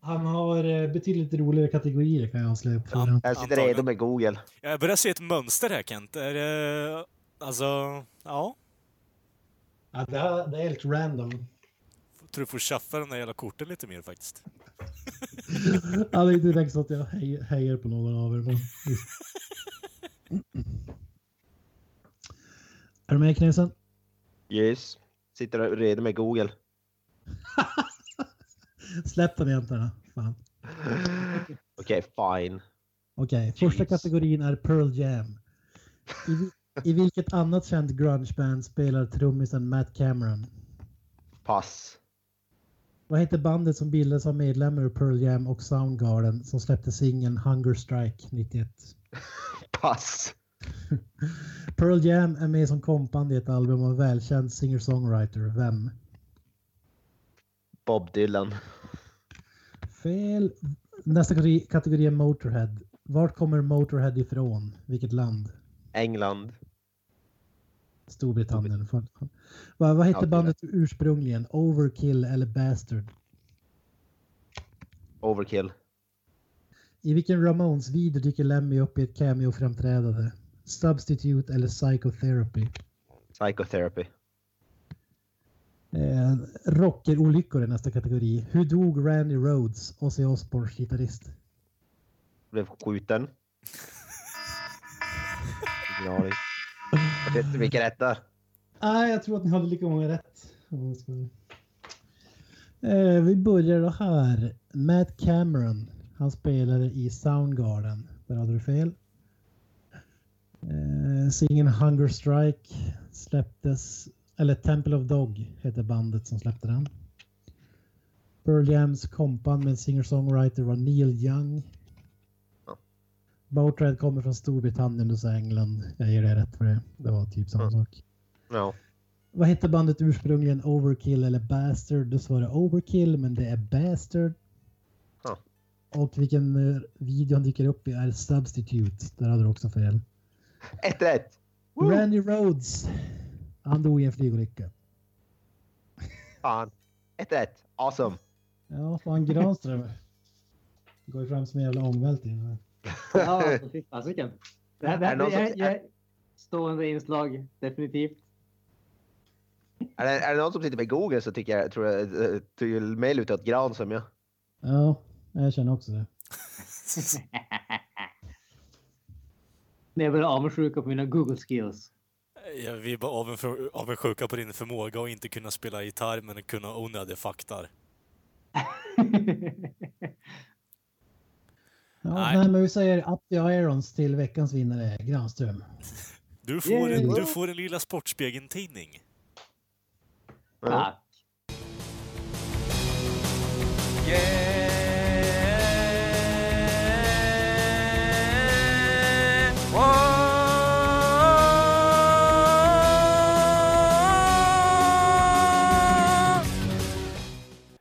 [SPEAKER 4] Han har eh, betydligt roligare kategorier kan jag avslöja på förhand.
[SPEAKER 3] Jag sitter
[SPEAKER 1] Antagligen.
[SPEAKER 3] redo med Google.
[SPEAKER 1] Jag börjar se ett mönster här Kent. Är det... Alltså, ja.
[SPEAKER 4] Ja, det, här, det är helt random.
[SPEAKER 1] Tror du får tjaffa de där jävla korten lite mer faktiskt.
[SPEAKER 4] Jag hade inte tänkt så att jag hej- hejar på någon av er. Men visst. Är du med Knäsen?
[SPEAKER 3] Yes. Sitter redo med [LAUGHS] Google.
[SPEAKER 4] Släpp den egentligen. Fan.
[SPEAKER 3] Okej, fine.
[SPEAKER 4] Okej, första
[SPEAKER 3] Jeez.
[SPEAKER 4] kategorin är Pearl Jam. I, vi- I vilket annat känt grungeband spelar trummisen Matt Cameron?
[SPEAKER 3] Pass.
[SPEAKER 4] Vad heter bandet som bildades av medlemmar ur Pearl Jam och Soundgarden som släppte singeln Hunger Strike 91?
[SPEAKER 3] Pass.
[SPEAKER 4] Pearl Jam är med som kompband i ett album av en välkänd singer-songwriter. Vem?
[SPEAKER 3] Bob Dylan.
[SPEAKER 4] Fel. Nästa kategori, kategori är Motorhead. Vart kommer Motorhead ifrån? Vilket land?
[SPEAKER 3] England.
[SPEAKER 4] Storbritannien. Fan, fan. Vad vad hette
[SPEAKER 3] Alltid
[SPEAKER 4] bandet ursprungligen? Overkill eller Bastard?
[SPEAKER 3] Overkill.
[SPEAKER 4] I vilken Ramones-video dyker Lemmy upp i ett cameo-framträdande? Substitute eller Psychotherapy?
[SPEAKER 3] Psychotherapy.
[SPEAKER 4] Eh, rockerolyckor är nästa kategori. Hur dog Randy Rhodes, Ozzy Osbournes gitarrist?
[SPEAKER 3] Blev skjuten. [LAUGHS] Ingen aning. Jag vet inte vilka rätt det är.
[SPEAKER 4] Nej, jag tror att ni hade lika många rätt. Eh, vi börjar då här. Matt Cameron, han spelade i Soundgarden. Där hade du fel. Eh, Singeln Hunger Strike släpptes, eller Temple of Dog heter bandet som släppte den. Pearl Jams kompan med en singer-songwriter var Neil Young.
[SPEAKER 3] Ja.
[SPEAKER 4] Boatred kommer från Storbritannien, du sa England. Jag ger dig rätt för det. Det var typ samma
[SPEAKER 3] Ja.
[SPEAKER 4] sak.
[SPEAKER 3] Ja.
[SPEAKER 4] Vad hette bandet ursprungligen? Overkill eller Bastard? Du svarade Overkill, men det är Bastard.
[SPEAKER 3] Ja.
[SPEAKER 4] Och vilken eh, video han dyker upp i är Substitute. Där hade du också fel.
[SPEAKER 3] Ett rätt! Woo!
[SPEAKER 4] Randy Rhodes. Han dog i en flygolycka.
[SPEAKER 3] Fan. Ett rätt. Awesome.
[SPEAKER 4] Ja, fan Granström. Det går ju fram som en jävla ångvält. i den här.
[SPEAKER 2] Ja,
[SPEAKER 3] [LAUGHS]
[SPEAKER 2] alltså, fy fasiken. Det här, det här,
[SPEAKER 3] Är det någon som-
[SPEAKER 2] jag, jag, stående inslag, definitivt. [LAUGHS]
[SPEAKER 3] Är det, är det någon som sitter med Google så tycker jag, tror jag, eh, tycker mig lutar åt gran som jag.
[SPEAKER 4] Ja, jag känner också det.
[SPEAKER 2] När jag blir avundsjuk på mina Google skills. [LAUGHS]
[SPEAKER 1] Ja, vi är bara avundsj- avundsjuka på din förmåga att inte kunna spela gitarr men kunna onödiga fakta.
[SPEAKER 4] Ja,
[SPEAKER 1] Nej.
[SPEAKER 4] nej. men vi säger Up the Irons till veckans vinnare, Granström.
[SPEAKER 1] Du får, en,
[SPEAKER 2] Yay!
[SPEAKER 1] du får en lilla Sportspegeln-tidning.
[SPEAKER 2] Tack.
[SPEAKER 5] Yeah. Whoa. Oh.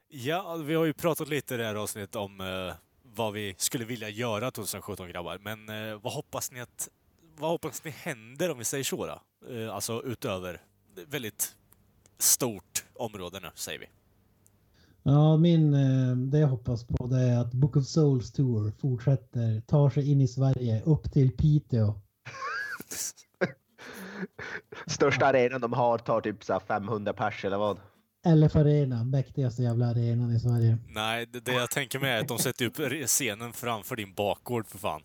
[SPEAKER 1] Ja, vi har ju pratat lite i det här avsnittet om eh, vad vi skulle vilja göra 2017 grabbar. Men eh, vad hoppas ni att... Vad hoppas ni händer om vi säger så då? Eh, alltså utöver väldigt stort område nu, säger vi.
[SPEAKER 4] Ja, min, eh, det jag hoppas på det är att Book of Souls Tour fortsätter, tar sig in i Sverige, upp till Piteå.
[SPEAKER 3] Största arenan de har tar typ så här 500 pers eller vad.
[SPEAKER 4] LF Arena, mäktigaste jävla arenan i Sverige.
[SPEAKER 1] Nej, det, det jag tänker mig är att de sätter upp re- scenen framför din bakgård för fan.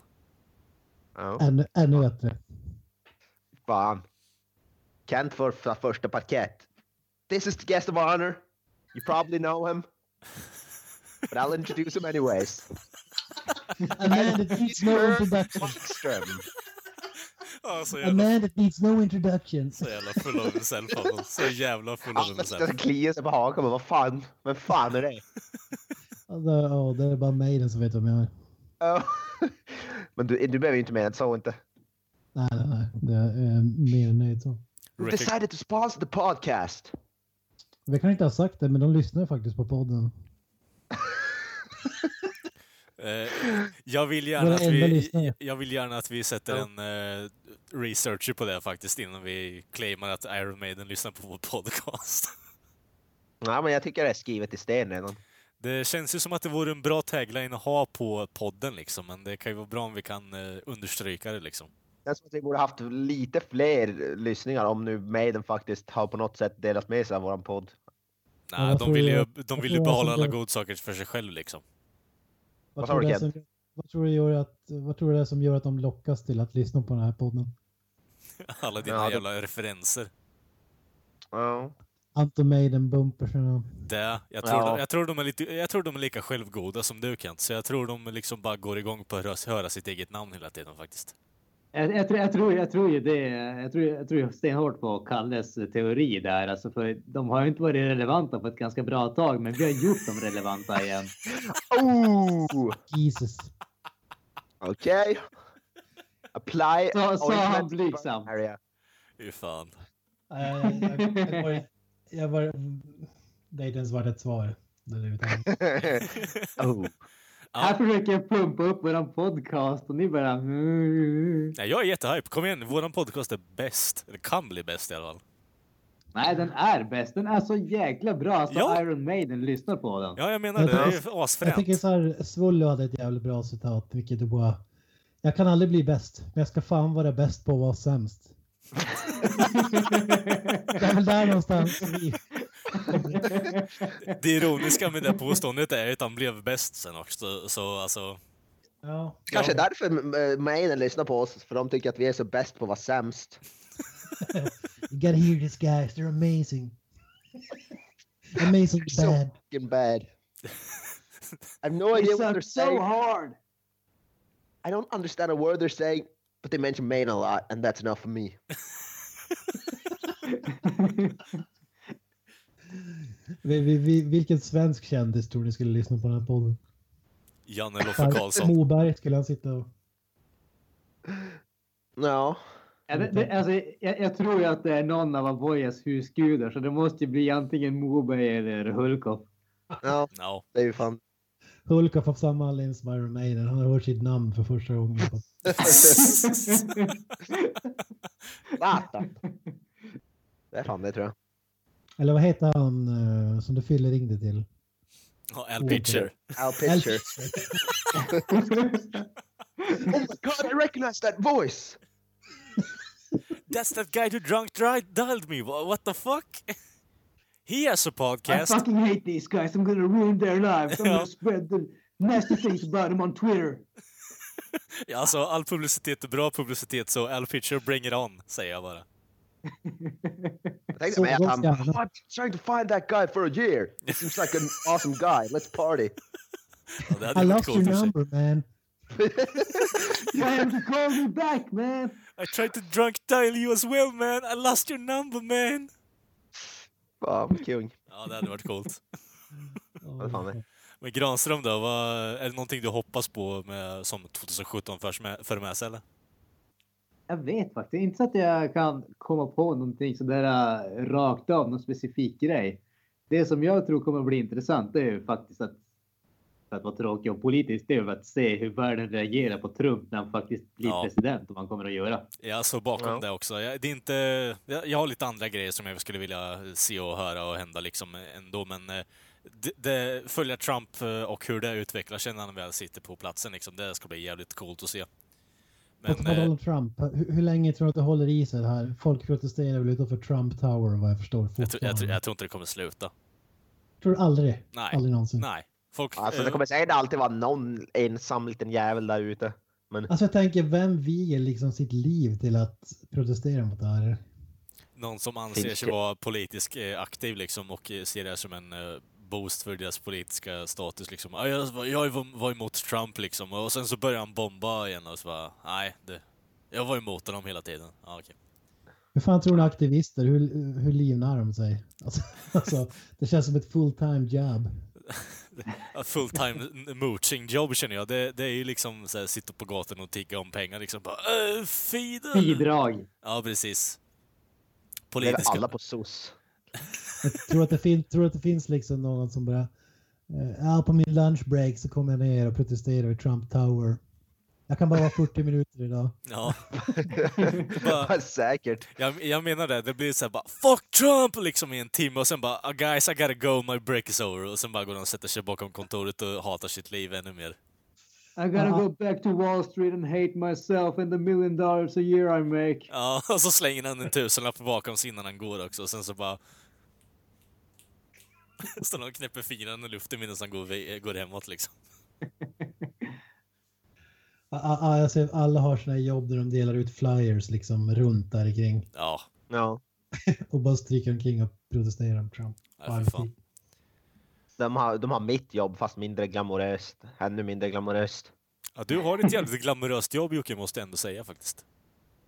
[SPEAKER 3] Ja.
[SPEAKER 4] Ännu, ännu bättre.
[SPEAKER 3] Fan. Kent får för första parkett. This is the guest of honor. You probably know him. But I'll introduce him anyways.
[SPEAKER 4] A man that needs no introduction.
[SPEAKER 3] Markström.
[SPEAKER 1] Ja, så
[SPEAKER 4] A
[SPEAKER 1] jävla,
[SPEAKER 4] man that needs no introduction.
[SPEAKER 1] så jävla full av himself alltså. Så jävla full av
[SPEAKER 3] Alla ska
[SPEAKER 1] himself.
[SPEAKER 3] klia sig på hakan. men Vad fan? Vem fan är det?
[SPEAKER 4] Alltså, ja, det är bara mejlen som vet vem jag är.
[SPEAKER 3] Ja. Oh. [LAUGHS] Men du, du behöver ju inte mena så inte.
[SPEAKER 4] Nej, nej, nej. Det är eh, mer än nöjd så.
[SPEAKER 3] We
[SPEAKER 1] Recog-
[SPEAKER 3] decided to sponsor the podcast.
[SPEAKER 4] Vi kan inte ha sagt det, men de lyssnar faktiskt på podden.
[SPEAKER 1] Eh, jag, vill gärna
[SPEAKER 4] Våra
[SPEAKER 1] att
[SPEAKER 4] enda
[SPEAKER 1] alltså vi,
[SPEAKER 4] lyssnare.
[SPEAKER 1] jag vill gärna att vi sätter
[SPEAKER 3] Ja.
[SPEAKER 1] en eh, researcher på det faktiskt innan vi claimar att Iron Maiden lyssnar på vår podcast. [LAUGHS]
[SPEAKER 3] Nej, men jag tycker det är skrivet i sten redan.
[SPEAKER 1] Det känns ju som att det vore en bra tagline att ha på podden liksom, men det kan ju vara bra om vi kan eh, understryka det liksom.
[SPEAKER 3] Det känns som att vi borde haft lite fler lyssningar om nu Maiden faktiskt har på något sätt delat med sig av våran podd.
[SPEAKER 1] Nej,
[SPEAKER 4] vad
[SPEAKER 1] de
[SPEAKER 4] tror
[SPEAKER 1] vill ju,
[SPEAKER 4] jag-
[SPEAKER 1] de
[SPEAKER 4] vad
[SPEAKER 1] vill
[SPEAKER 4] tror
[SPEAKER 1] ju
[SPEAKER 4] jag
[SPEAKER 1] behålla
[SPEAKER 4] som
[SPEAKER 1] alla
[SPEAKER 4] gör-
[SPEAKER 1] godsaker för sig själv liksom. [LAUGHS]
[SPEAKER 3] Vad
[SPEAKER 4] Vad
[SPEAKER 3] sa
[SPEAKER 4] tror
[SPEAKER 3] du,
[SPEAKER 4] du det är
[SPEAKER 3] Kent?
[SPEAKER 4] som- vad tror du gör att, vad tror du det är som gör att de lockas till att lyssna på den här podden?
[SPEAKER 1] Alla dina
[SPEAKER 3] Ja, det-
[SPEAKER 1] jävla referenser.
[SPEAKER 3] Ja.
[SPEAKER 4] Anton Maiden bumpers och
[SPEAKER 1] Det, jag, tror
[SPEAKER 3] Ja.
[SPEAKER 1] de, jag, tror de är lite, jag tror de är lika självgoda som du Kent, så jag tror de liksom bara går igång på att höra- höra sitt eget namn hela tiden faktiskt.
[SPEAKER 2] Jag, jag, tror- jag, tror, jag tror ju det. Jag tror, jag tror ju stenhårt på Kalles eh, teori där. Alltså för de har ju inte varit relevanta på ett ganska bra tag, men vi har gjort dem relevanta igen.
[SPEAKER 3] Oh!
[SPEAKER 4] Jesus.
[SPEAKER 3] Okej. [LAUGHS] Apply.
[SPEAKER 2] Så- så han liksom.
[SPEAKER 3] ointment
[SPEAKER 2] blygsam.
[SPEAKER 3] [LAUGHS] area.
[SPEAKER 1] Fy fan.
[SPEAKER 4] Nej, jag- jag var- Jag var... Det är inte ens vart ett svar.
[SPEAKER 1] [LAUGHS]
[SPEAKER 4] överhuvudtaget.
[SPEAKER 3] oh.
[SPEAKER 2] Här försöker jag pumpa upp våran podcast och ni bara... "Mm,
[SPEAKER 1] Nej, jag är jättehype. Kom igen, våran podcast är bäst. Eller kan bli bäst i alla fall.
[SPEAKER 2] Nej, den är bäst. Den är så jäkla bra. Så
[SPEAKER 1] Ja.
[SPEAKER 2] Iron Maiden lyssnar på den.
[SPEAKER 1] Ja, jag menar det.
[SPEAKER 4] Jag
[SPEAKER 1] Det är
[SPEAKER 4] tycker-
[SPEAKER 1] ju
[SPEAKER 4] Jag tänker
[SPEAKER 1] asfränt.
[SPEAKER 4] så här, Svullo hade ett jävligt bra citat, vilket är bara... Jag kan aldrig bli bäst, men jag ska fan vara bäst på att vara [LAUGHS] sämst. Det är väl där någonstans vi...
[SPEAKER 1] Det ironiska med det påståendet är att han blev bäst sen också, så alltså...
[SPEAKER 4] Ja.
[SPEAKER 3] Kanske därför eh, Maiden lyssnar på oss, för de tycker att vi är så bäst på att vara sämst.
[SPEAKER 4] You gotta hear these guys, they're amazing. Amazing
[SPEAKER 3] So
[SPEAKER 4] bad.
[SPEAKER 3] fucking [LAUGHS] bad. I have no idea
[SPEAKER 2] It's
[SPEAKER 3] what
[SPEAKER 2] so,
[SPEAKER 3] they're saying.
[SPEAKER 2] so hard.
[SPEAKER 3] I don't understand a word they're saying, but they mention Maiden a lot, and that's enough for me.
[SPEAKER 4] Vi, vi, vi, vilken svensk kändis tror ni skulle lyssna på den här podden?
[SPEAKER 1] Janne Loffe Karlsson.
[SPEAKER 4] Moberg skulle han sitta och...
[SPEAKER 3] Ja.
[SPEAKER 2] Ja, det, det, alltså, jag, jag tror ju att det är någon av Avoyas husgudar så det måste ju bli antingen Moberg eller [LAUGHS] Hulkoff.
[SPEAKER 3] ja,
[SPEAKER 1] Ja. [LAUGHS]
[SPEAKER 3] det är ju fan.
[SPEAKER 4] Hulk har fått samma anledning som Iron Maiden. Han har hört sitt namn för första gången. På...
[SPEAKER 3] Zlatan. Det är fan det tror jag.
[SPEAKER 4] Eller vad heter han eh, som du fyller ringde till?
[SPEAKER 1] Ja,
[SPEAKER 4] Mm.
[SPEAKER 1] Al Pitcher.
[SPEAKER 3] Al [LAUGHS] Pitcher. oh my god, I recognize that voice!
[SPEAKER 1] That's that guy who drunk dri- dialed me. Wha- What the fuck? He has a
[SPEAKER 2] I
[SPEAKER 4] [LAUGHS]
[SPEAKER 1] podcast.
[SPEAKER 2] fucking hate these guys. I'm gonna ruin their lives. I'm
[SPEAKER 1] Ja. [LAUGHS]
[SPEAKER 2] gonna spread the nasty things about them on Twitter. [LAUGHS]
[SPEAKER 1] Ja, Alltså, all publicitet är bra publicitet, så Al Pitcher bring it on, säger jag bara.
[SPEAKER 3] Jag tänkte
[SPEAKER 4] Så
[SPEAKER 3] mig att han...
[SPEAKER 4] gott, ja.
[SPEAKER 3] "Oh, I've been trying to find that guy for a year. He seems like an awesome guy. Let's party.
[SPEAKER 1] Ja, det hade
[SPEAKER 4] I
[SPEAKER 1] ju varit
[SPEAKER 4] lost
[SPEAKER 1] coolt i och för
[SPEAKER 4] your
[SPEAKER 1] sig.
[SPEAKER 4] number man.
[SPEAKER 2] Why haven't you called me back man?
[SPEAKER 1] I tried to drunk dial you as well man, I lost your number man!
[SPEAKER 3] Fan, vad kung.
[SPEAKER 1] Ja, det hade varit coolt.
[SPEAKER 3] Vad fan är-
[SPEAKER 1] Men Granström då, vad, är det någonting du hoppas på med, som 2017 förs med, för med sig eller?
[SPEAKER 2] Jag vet faktiskt inte så att jag kan komma på någonting sådär äh, rakt av, någon specifik grej. Det som jag tror kommer bli intressant det är ju faktiskt att, för att vara tråkig och politisk, det är ju att se hur världen reagerar på Trump när han faktiskt blir
[SPEAKER 1] Ja.
[SPEAKER 2] president, om han kommer att göra.
[SPEAKER 1] Jag står alltså, bakom
[SPEAKER 3] Ja.
[SPEAKER 1] det också. Jag, det är inte, jag, jag har lite andra grejer som jag skulle vilja se och höra och hända liksom ändå, men eh, det, det, följa Trump eh, och hur det utvecklar sig när han väl sitter på platsen liksom, det ska bli jävligt coolt att se.
[SPEAKER 4] På
[SPEAKER 1] Men,
[SPEAKER 4] tal om
[SPEAKER 1] eh,
[SPEAKER 4] Donald Trump, hur, hur länge tror du att det håller i sig det här? Folk protesterar väl utanför Trump Tower vad jag förstår
[SPEAKER 1] jag, tror- jag, tror-
[SPEAKER 4] fortfarande.
[SPEAKER 1] jag tror inte det kommer sluta.
[SPEAKER 4] Tror du aldrig?
[SPEAKER 1] Nej.
[SPEAKER 4] Aldrig någonsin.
[SPEAKER 1] Nej. Folk,
[SPEAKER 3] Alltså det
[SPEAKER 1] eh,
[SPEAKER 3] kommer säkert alltid vara någon ensam liten jävel där ute. Men
[SPEAKER 4] Alltså jag tänker, vem viger liksom sitt liv till att protestera mot det här?
[SPEAKER 1] någon som anser
[SPEAKER 3] Finns
[SPEAKER 1] sig
[SPEAKER 3] det-
[SPEAKER 1] vara politiskt eh, aktiv liksom och eh, ser det som en eh, boost för deras politiska status liksom. "Ah, Jag, var- jag var- var emot Trump liksom och sen så börjar han bomba igen och så bara, nej, det, jag var emot honom hela tiden. Ja, okej. [LAUGHS]
[SPEAKER 4] Hur fan tror ni aktivister, hur, hur livnär de sig? Alltså, [LAUGHS] alltså, det känns som ett full time job.
[SPEAKER 1] A Full-time mooching job känner jag. Det, det är ju liksom så här, sitta på gatan och tigga om pengar liksom. Bara, "Äh, Fidel!
[SPEAKER 2] Bidrag.
[SPEAKER 1] Ja, precis.
[SPEAKER 3] det är
[SPEAKER 1] Politiska.
[SPEAKER 3] alla på SOS.
[SPEAKER 4] Jag tror att det, fin- tror att det finns liksom någon som bara Eh, Ja, på min lunchbreak så kom jag ner och protesterade vid Trump Tower. Jag kan bara vara 40 minuter idag.
[SPEAKER 1] Ja,
[SPEAKER 3] Vad Säkert.
[SPEAKER 1] jag, jag menar det. Det blir såhär bara “Fuck Trump!” liksom i en timme och sen bara "Ah, “Guys, I gotta go, my break is over” och sen bara går de och sätter sig bakom kontoret och hatar sitt liv ännu mer.
[SPEAKER 2] I gotta go back to Wall Street and hate myself and the million dollars a year I make.
[SPEAKER 1] Ja, [LAUGHS] och så slänger han en tusenlapp bakom sig innan han går också och sen så bara... [LAUGHS] Står han och knäpper fingrarna i luften medan han går, ve- går hemåt liksom.
[SPEAKER 4] Ja, ja, ja, jag ser, alla har sina jobb där de delar ut flyers liksom runt där kring
[SPEAKER 1] Ja,
[SPEAKER 3] Ja.
[SPEAKER 4] och bara stryker omkring och protesterar om Trump.
[SPEAKER 1] nej, för fan.
[SPEAKER 3] De har, de har mitt jobb fast mindre glamoröst. Ännu mindre glamoröst.
[SPEAKER 1] Ja, du har ett jävligt glamoröst jobb Jocke, måste jag ändå säga faktiskt.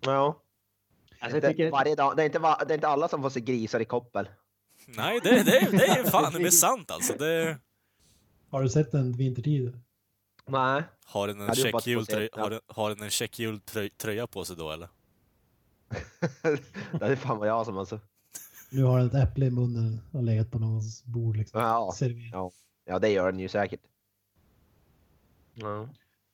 [SPEAKER 3] Ja.
[SPEAKER 2] Alltså, jag
[SPEAKER 3] Det-
[SPEAKER 2] tycker-
[SPEAKER 3] varje dag, det, är inte, va- det är inte alla som får se grisar i koppel.
[SPEAKER 1] Nej, det, det, det är fan det är sant alltså. Det...
[SPEAKER 4] Har du sett den vintertid?
[SPEAKER 3] Nej.
[SPEAKER 1] Har den en
[SPEAKER 3] Hade jobbat på
[SPEAKER 1] checkjultröja
[SPEAKER 3] scen, ja.
[SPEAKER 1] har den, har den en checkjultröja på sig då eller?
[SPEAKER 3] det är fan vad jag som alltså.
[SPEAKER 4] Nu har den ett äpple i munnen och legat på någons bord. Liksom.
[SPEAKER 3] Ja.
[SPEAKER 4] Serverat.
[SPEAKER 3] ja, det gör den ju säkert. Ja.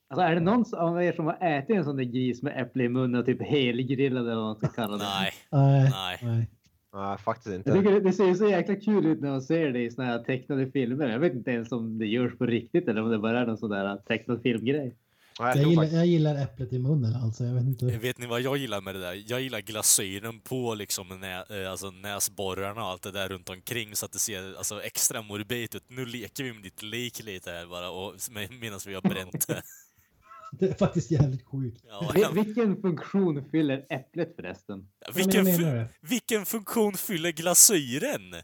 [SPEAKER 2] Alltså, är det någon av er som har ätit en sån där gris med äpple i munnen och typ helgrillad eller vad man ska kalla det?
[SPEAKER 1] Nej,
[SPEAKER 4] Nej,
[SPEAKER 1] nej.
[SPEAKER 4] nej.
[SPEAKER 3] Nej, faktiskt
[SPEAKER 2] Jag
[SPEAKER 3] inte.
[SPEAKER 2] tycker det, det ser ju så jäkla kul ut när man ser det i såna här tecknade filmer. Jag vet inte ens om det görs på riktigt eller om det bara är någon sån där tecknad filmgrej.
[SPEAKER 3] Nej, jag
[SPEAKER 4] Jag
[SPEAKER 3] tror
[SPEAKER 4] gillar,
[SPEAKER 3] faktiskt-
[SPEAKER 4] jag gillar äpplet i munnen alltså. Jag vet inte.
[SPEAKER 1] Vet ni vad jag gillar med det där? Jag gillar glasyren på liksom nä, eh, alltså näsborrarna och allt det där runt omkring så att det ser alltså, extra morbid ut. Nu leker vi med ditt lik lite här bara och medan vi har
[SPEAKER 4] [LAUGHS]
[SPEAKER 1] bränt [LAUGHS] det.
[SPEAKER 4] [LAUGHS] Det är faktiskt jävligt sjukt.
[SPEAKER 1] Ja,
[SPEAKER 2] Vil- Vilken funktion fyller äpplet förresten?
[SPEAKER 4] jag
[SPEAKER 1] vilken,
[SPEAKER 4] menar
[SPEAKER 1] fu-
[SPEAKER 4] det.
[SPEAKER 1] vilken funktion fyller glasyren?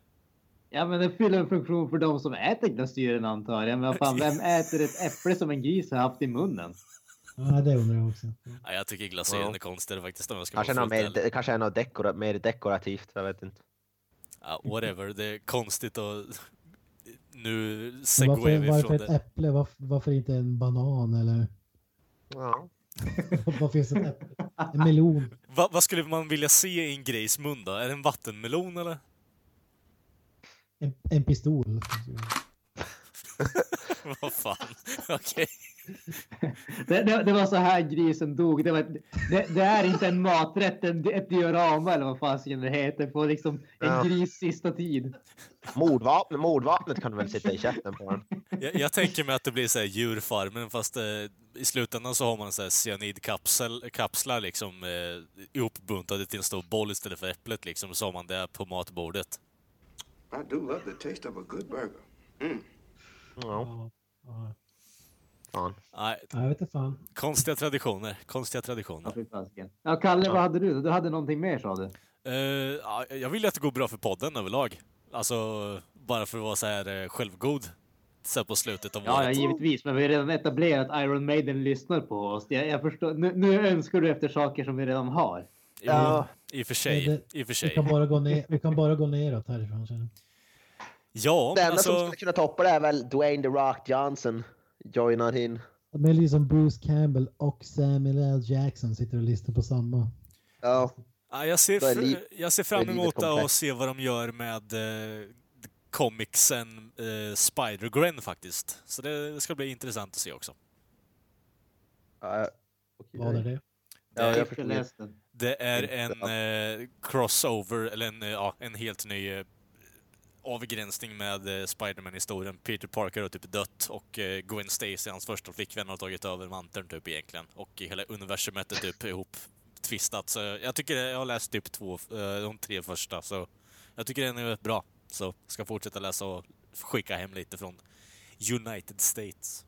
[SPEAKER 2] Ja, men den fyller en funktion för de som äter glasyren antar jag. Men vad fan, vem äter ett äpple som en gris har haft i munnen?
[SPEAKER 4] Ja, det undrar jag också.
[SPEAKER 1] Ja, jag tycker glasyren
[SPEAKER 3] Ja.
[SPEAKER 1] är konstigare faktiskt om jag ska
[SPEAKER 3] Kanske
[SPEAKER 1] vara
[SPEAKER 3] något
[SPEAKER 1] fullt
[SPEAKER 3] mer,
[SPEAKER 1] ärlig.
[SPEAKER 3] de- kanske är något dekora, mer dekorativt. Jag vet inte.
[SPEAKER 1] Ja, whatever, det är konstigt och nu
[SPEAKER 4] Men
[SPEAKER 1] segwayar
[SPEAKER 4] Varför,
[SPEAKER 1] vi
[SPEAKER 4] varför
[SPEAKER 1] från
[SPEAKER 4] ett
[SPEAKER 1] det.
[SPEAKER 4] äpple? Varför, varför inte en banan eller [LAUGHS]
[SPEAKER 3] Ja.
[SPEAKER 4] vad finns ett äpple? En melon?
[SPEAKER 1] Va, vad skulle man vilja se i en grejs mun då? Är det en vattenmelon eller? [LAUGHS]
[SPEAKER 4] En, en pistol?
[SPEAKER 1] vad fan, [LAUGHS] okej.
[SPEAKER 2] [LAUGHS] Det, det, det var så här grisen dog. Det, var, det, det är inte en maträtt, en, ett diorama eller vad fan det heter. På liksom en
[SPEAKER 3] Ja.
[SPEAKER 2] gris sista tid.
[SPEAKER 3] Mordvapnet, mordvapnet kan du väl sitta i käften på den.
[SPEAKER 1] Jag, jag tänker mig att det blir så här djurfarmen fast eh, i slutändan så har man så här cyanidkapsel- kapslar liksom eh, ihopbuntade till en stor boll istället för äpplet liksom. Så har man det på matbordet.
[SPEAKER 7] I do love the taste of a good burger.
[SPEAKER 3] Ja,
[SPEAKER 4] Ja, ja.
[SPEAKER 3] fan.
[SPEAKER 1] Nej,
[SPEAKER 4] Ja, jag vet inte fan.
[SPEAKER 1] konstiga traditioner, konstiga
[SPEAKER 2] Ja,
[SPEAKER 1] traditioner.
[SPEAKER 2] fy fasiken. ja, Kalle, vad hade du? Du hade någonting mer sa du?
[SPEAKER 1] Eh, ja, jag vill ju att det går bra för podden överlag. Alltså, bara för att vara så här eh, självgod. Så här på slutet av
[SPEAKER 2] Ja, ja,
[SPEAKER 1] året.
[SPEAKER 2] givetvis. Men vi har redan etablerat att Iron Maiden lyssnar på oss. Jag, jag förstår. Nu, nu önskar du efter saker som vi redan har.
[SPEAKER 1] Jo,
[SPEAKER 3] Ja.
[SPEAKER 1] I och för sig.
[SPEAKER 4] Det-
[SPEAKER 1] I och för
[SPEAKER 4] Vi
[SPEAKER 1] sig.
[SPEAKER 4] kan bara gå, ner, vi kan bara gå neråt härifrån. känner jag.
[SPEAKER 1] Ja,
[SPEAKER 3] Det
[SPEAKER 1] men
[SPEAKER 3] enda som
[SPEAKER 1] alltså...
[SPEAKER 3] skulle kunna toppa det är väl Dwayne The Rock Johnson joinar in.
[SPEAKER 4] De är liksom Bruce Campbell och Samuel L. Jackson sitter och lyssnar på samma.
[SPEAKER 3] Ja,
[SPEAKER 1] Ja, jag, ser
[SPEAKER 3] Då är
[SPEAKER 1] fr-
[SPEAKER 3] liv-
[SPEAKER 1] jag ser
[SPEAKER 3] då
[SPEAKER 1] fram
[SPEAKER 3] är livet
[SPEAKER 1] emot det och
[SPEAKER 3] komplext.
[SPEAKER 1] se vad de gör med eh, comicsen eh, Spider-Gwen faktiskt. Så det ska bli intressant att se också.
[SPEAKER 3] ja,
[SPEAKER 4] Vad är det?
[SPEAKER 3] Ja, jag
[SPEAKER 2] Jag
[SPEAKER 3] förstår.
[SPEAKER 2] läst den.
[SPEAKER 1] Det är en
[SPEAKER 3] Intressant.
[SPEAKER 1] eh, crossover, eller en, eh, ja, en helt ny eh, avgränsning med eh, Spiderman-historien. Peter Parker har typ dött och eh, Gwen Stacy, hans första flickvän, har tagit över manteln typ egentligen. Och i hela universumet är typ ihop twistat. Så jag tycker jag har läst typ två, eh, de tre första, så jag tycker den är rätt bra. Så ska fortsätta läsa och skicka hem lite från United States.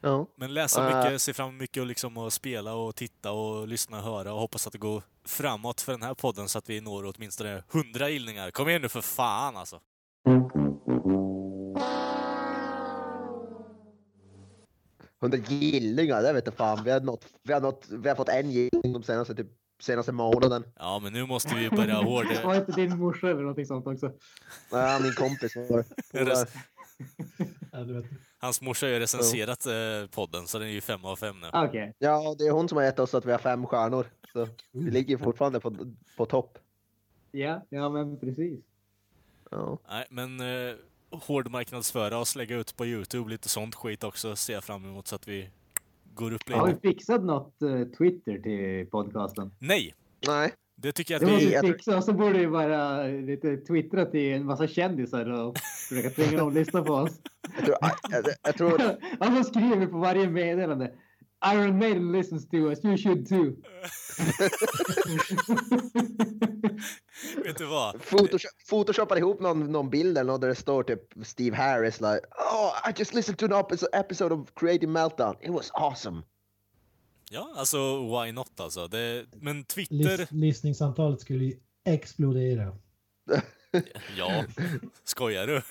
[SPEAKER 3] Ja.
[SPEAKER 1] Men läsa
[SPEAKER 3] Ah.
[SPEAKER 1] mycket, se fram emot mycket och liksom att spela och titta och lyssna och höra och hoppas att det går framåt för den här podden så att vi når åtminstone 100 gillningar. Kom igen nu för fan alltså!
[SPEAKER 3] Hundra gillningar, det vet jag fan. Vi har, nått, vi, har nått, vi har fått en gillning de senaste, typ, senaste månaden.
[SPEAKER 1] Ja, men nu måste vi börja hårdare.
[SPEAKER 2] Var inte din morsa eller någonting sånt också?
[SPEAKER 3] Ja, min kompis var
[SPEAKER 1] Res-
[SPEAKER 4] Ja, du vet.
[SPEAKER 1] Hans morsa har ju recenserat eh, podden så den är ju fem av fem nu.
[SPEAKER 2] Ah, Okej.
[SPEAKER 3] Ja, det är hon som har gett oss att vi har fem stjärnor. Så vi ligger fortfarande på, på topp.
[SPEAKER 2] Ja, ja, men precis.
[SPEAKER 3] Ja.
[SPEAKER 1] Nej, men eh, hårdmarknadsföra oss, lägga ut på Youtube, lite sånt skit också ser jag fram emot så att vi går upp
[SPEAKER 2] Har vi
[SPEAKER 1] lite.
[SPEAKER 2] fixat något eh, Twitter till podcasten?
[SPEAKER 1] Nej!
[SPEAKER 3] Nej.
[SPEAKER 1] Det tycker jag
[SPEAKER 2] Det
[SPEAKER 1] att vi...
[SPEAKER 2] måste
[SPEAKER 3] jag
[SPEAKER 2] vi
[SPEAKER 3] tror-
[SPEAKER 2] fixa och så borde vi bara lite twittra till en massa kändisar och försöka tvinga dem att lyssna på
[SPEAKER 3] [LAUGHS]
[SPEAKER 2] oss.
[SPEAKER 3] Jag tror... Jag, jag, jag tror
[SPEAKER 2] Alltså skriver vi på varje meddelande. Iron Maiden listens to us, you should too.
[SPEAKER 1] [LAUGHS] Vet du vad?
[SPEAKER 3] Photoshop, photoshoppar ihop någon, någon bild eller något där det står typ Steve Harris like Oh I just listened to an episode, episode of Creative Meltdown. It was awesome.
[SPEAKER 1] Ja, alltså why not alltså. Det... Men Twitter,
[SPEAKER 4] Lys- lyssningsantalet skulle ju explodera.
[SPEAKER 1] [LAUGHS] ja, skojar du?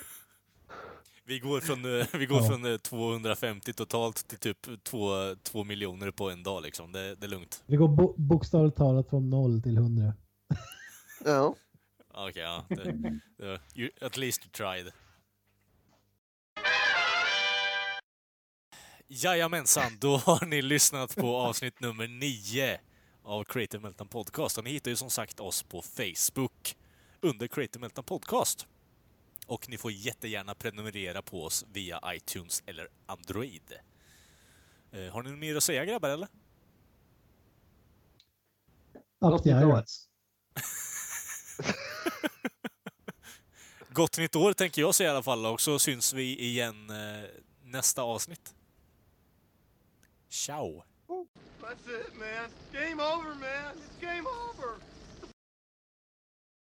[SPEAKER 1] Vi går från, eh, vi går
[SPEAKER 4] Ja.
[SPEAKER 1] från eh, 250 totalt till typ 2, 2 miljoner på en dag liksom. Det, det är lugnt.
[SPEAKER 4] Vi går bo- bokstavligt talat från 0 till 100.
[SPEAKER 3] Ja.
[SPEAKER 1] Okej, ja. Det, det, you, at least you tried. Jajamensan, då har ni lyssnat på avsnitt nummer 9 av Creative Meltdown Podcast. Och ni hittar ju som sagt oss på Facebook under Creative Meltdown Podcast. Och ni får jättegärna prenumerera på oss via iTunes eller Android. Eh, har ni något mer att säga grabbar eller?
[SPEAKER 4] Up the Irons.
[SPEAKER 1] Gott nytt år tänker jag säga i alla fall och så syns vi igen eh, nästa avsnitt. Ciao!
[SPEAKER 8] That's it, man. Game over, man. It's game over.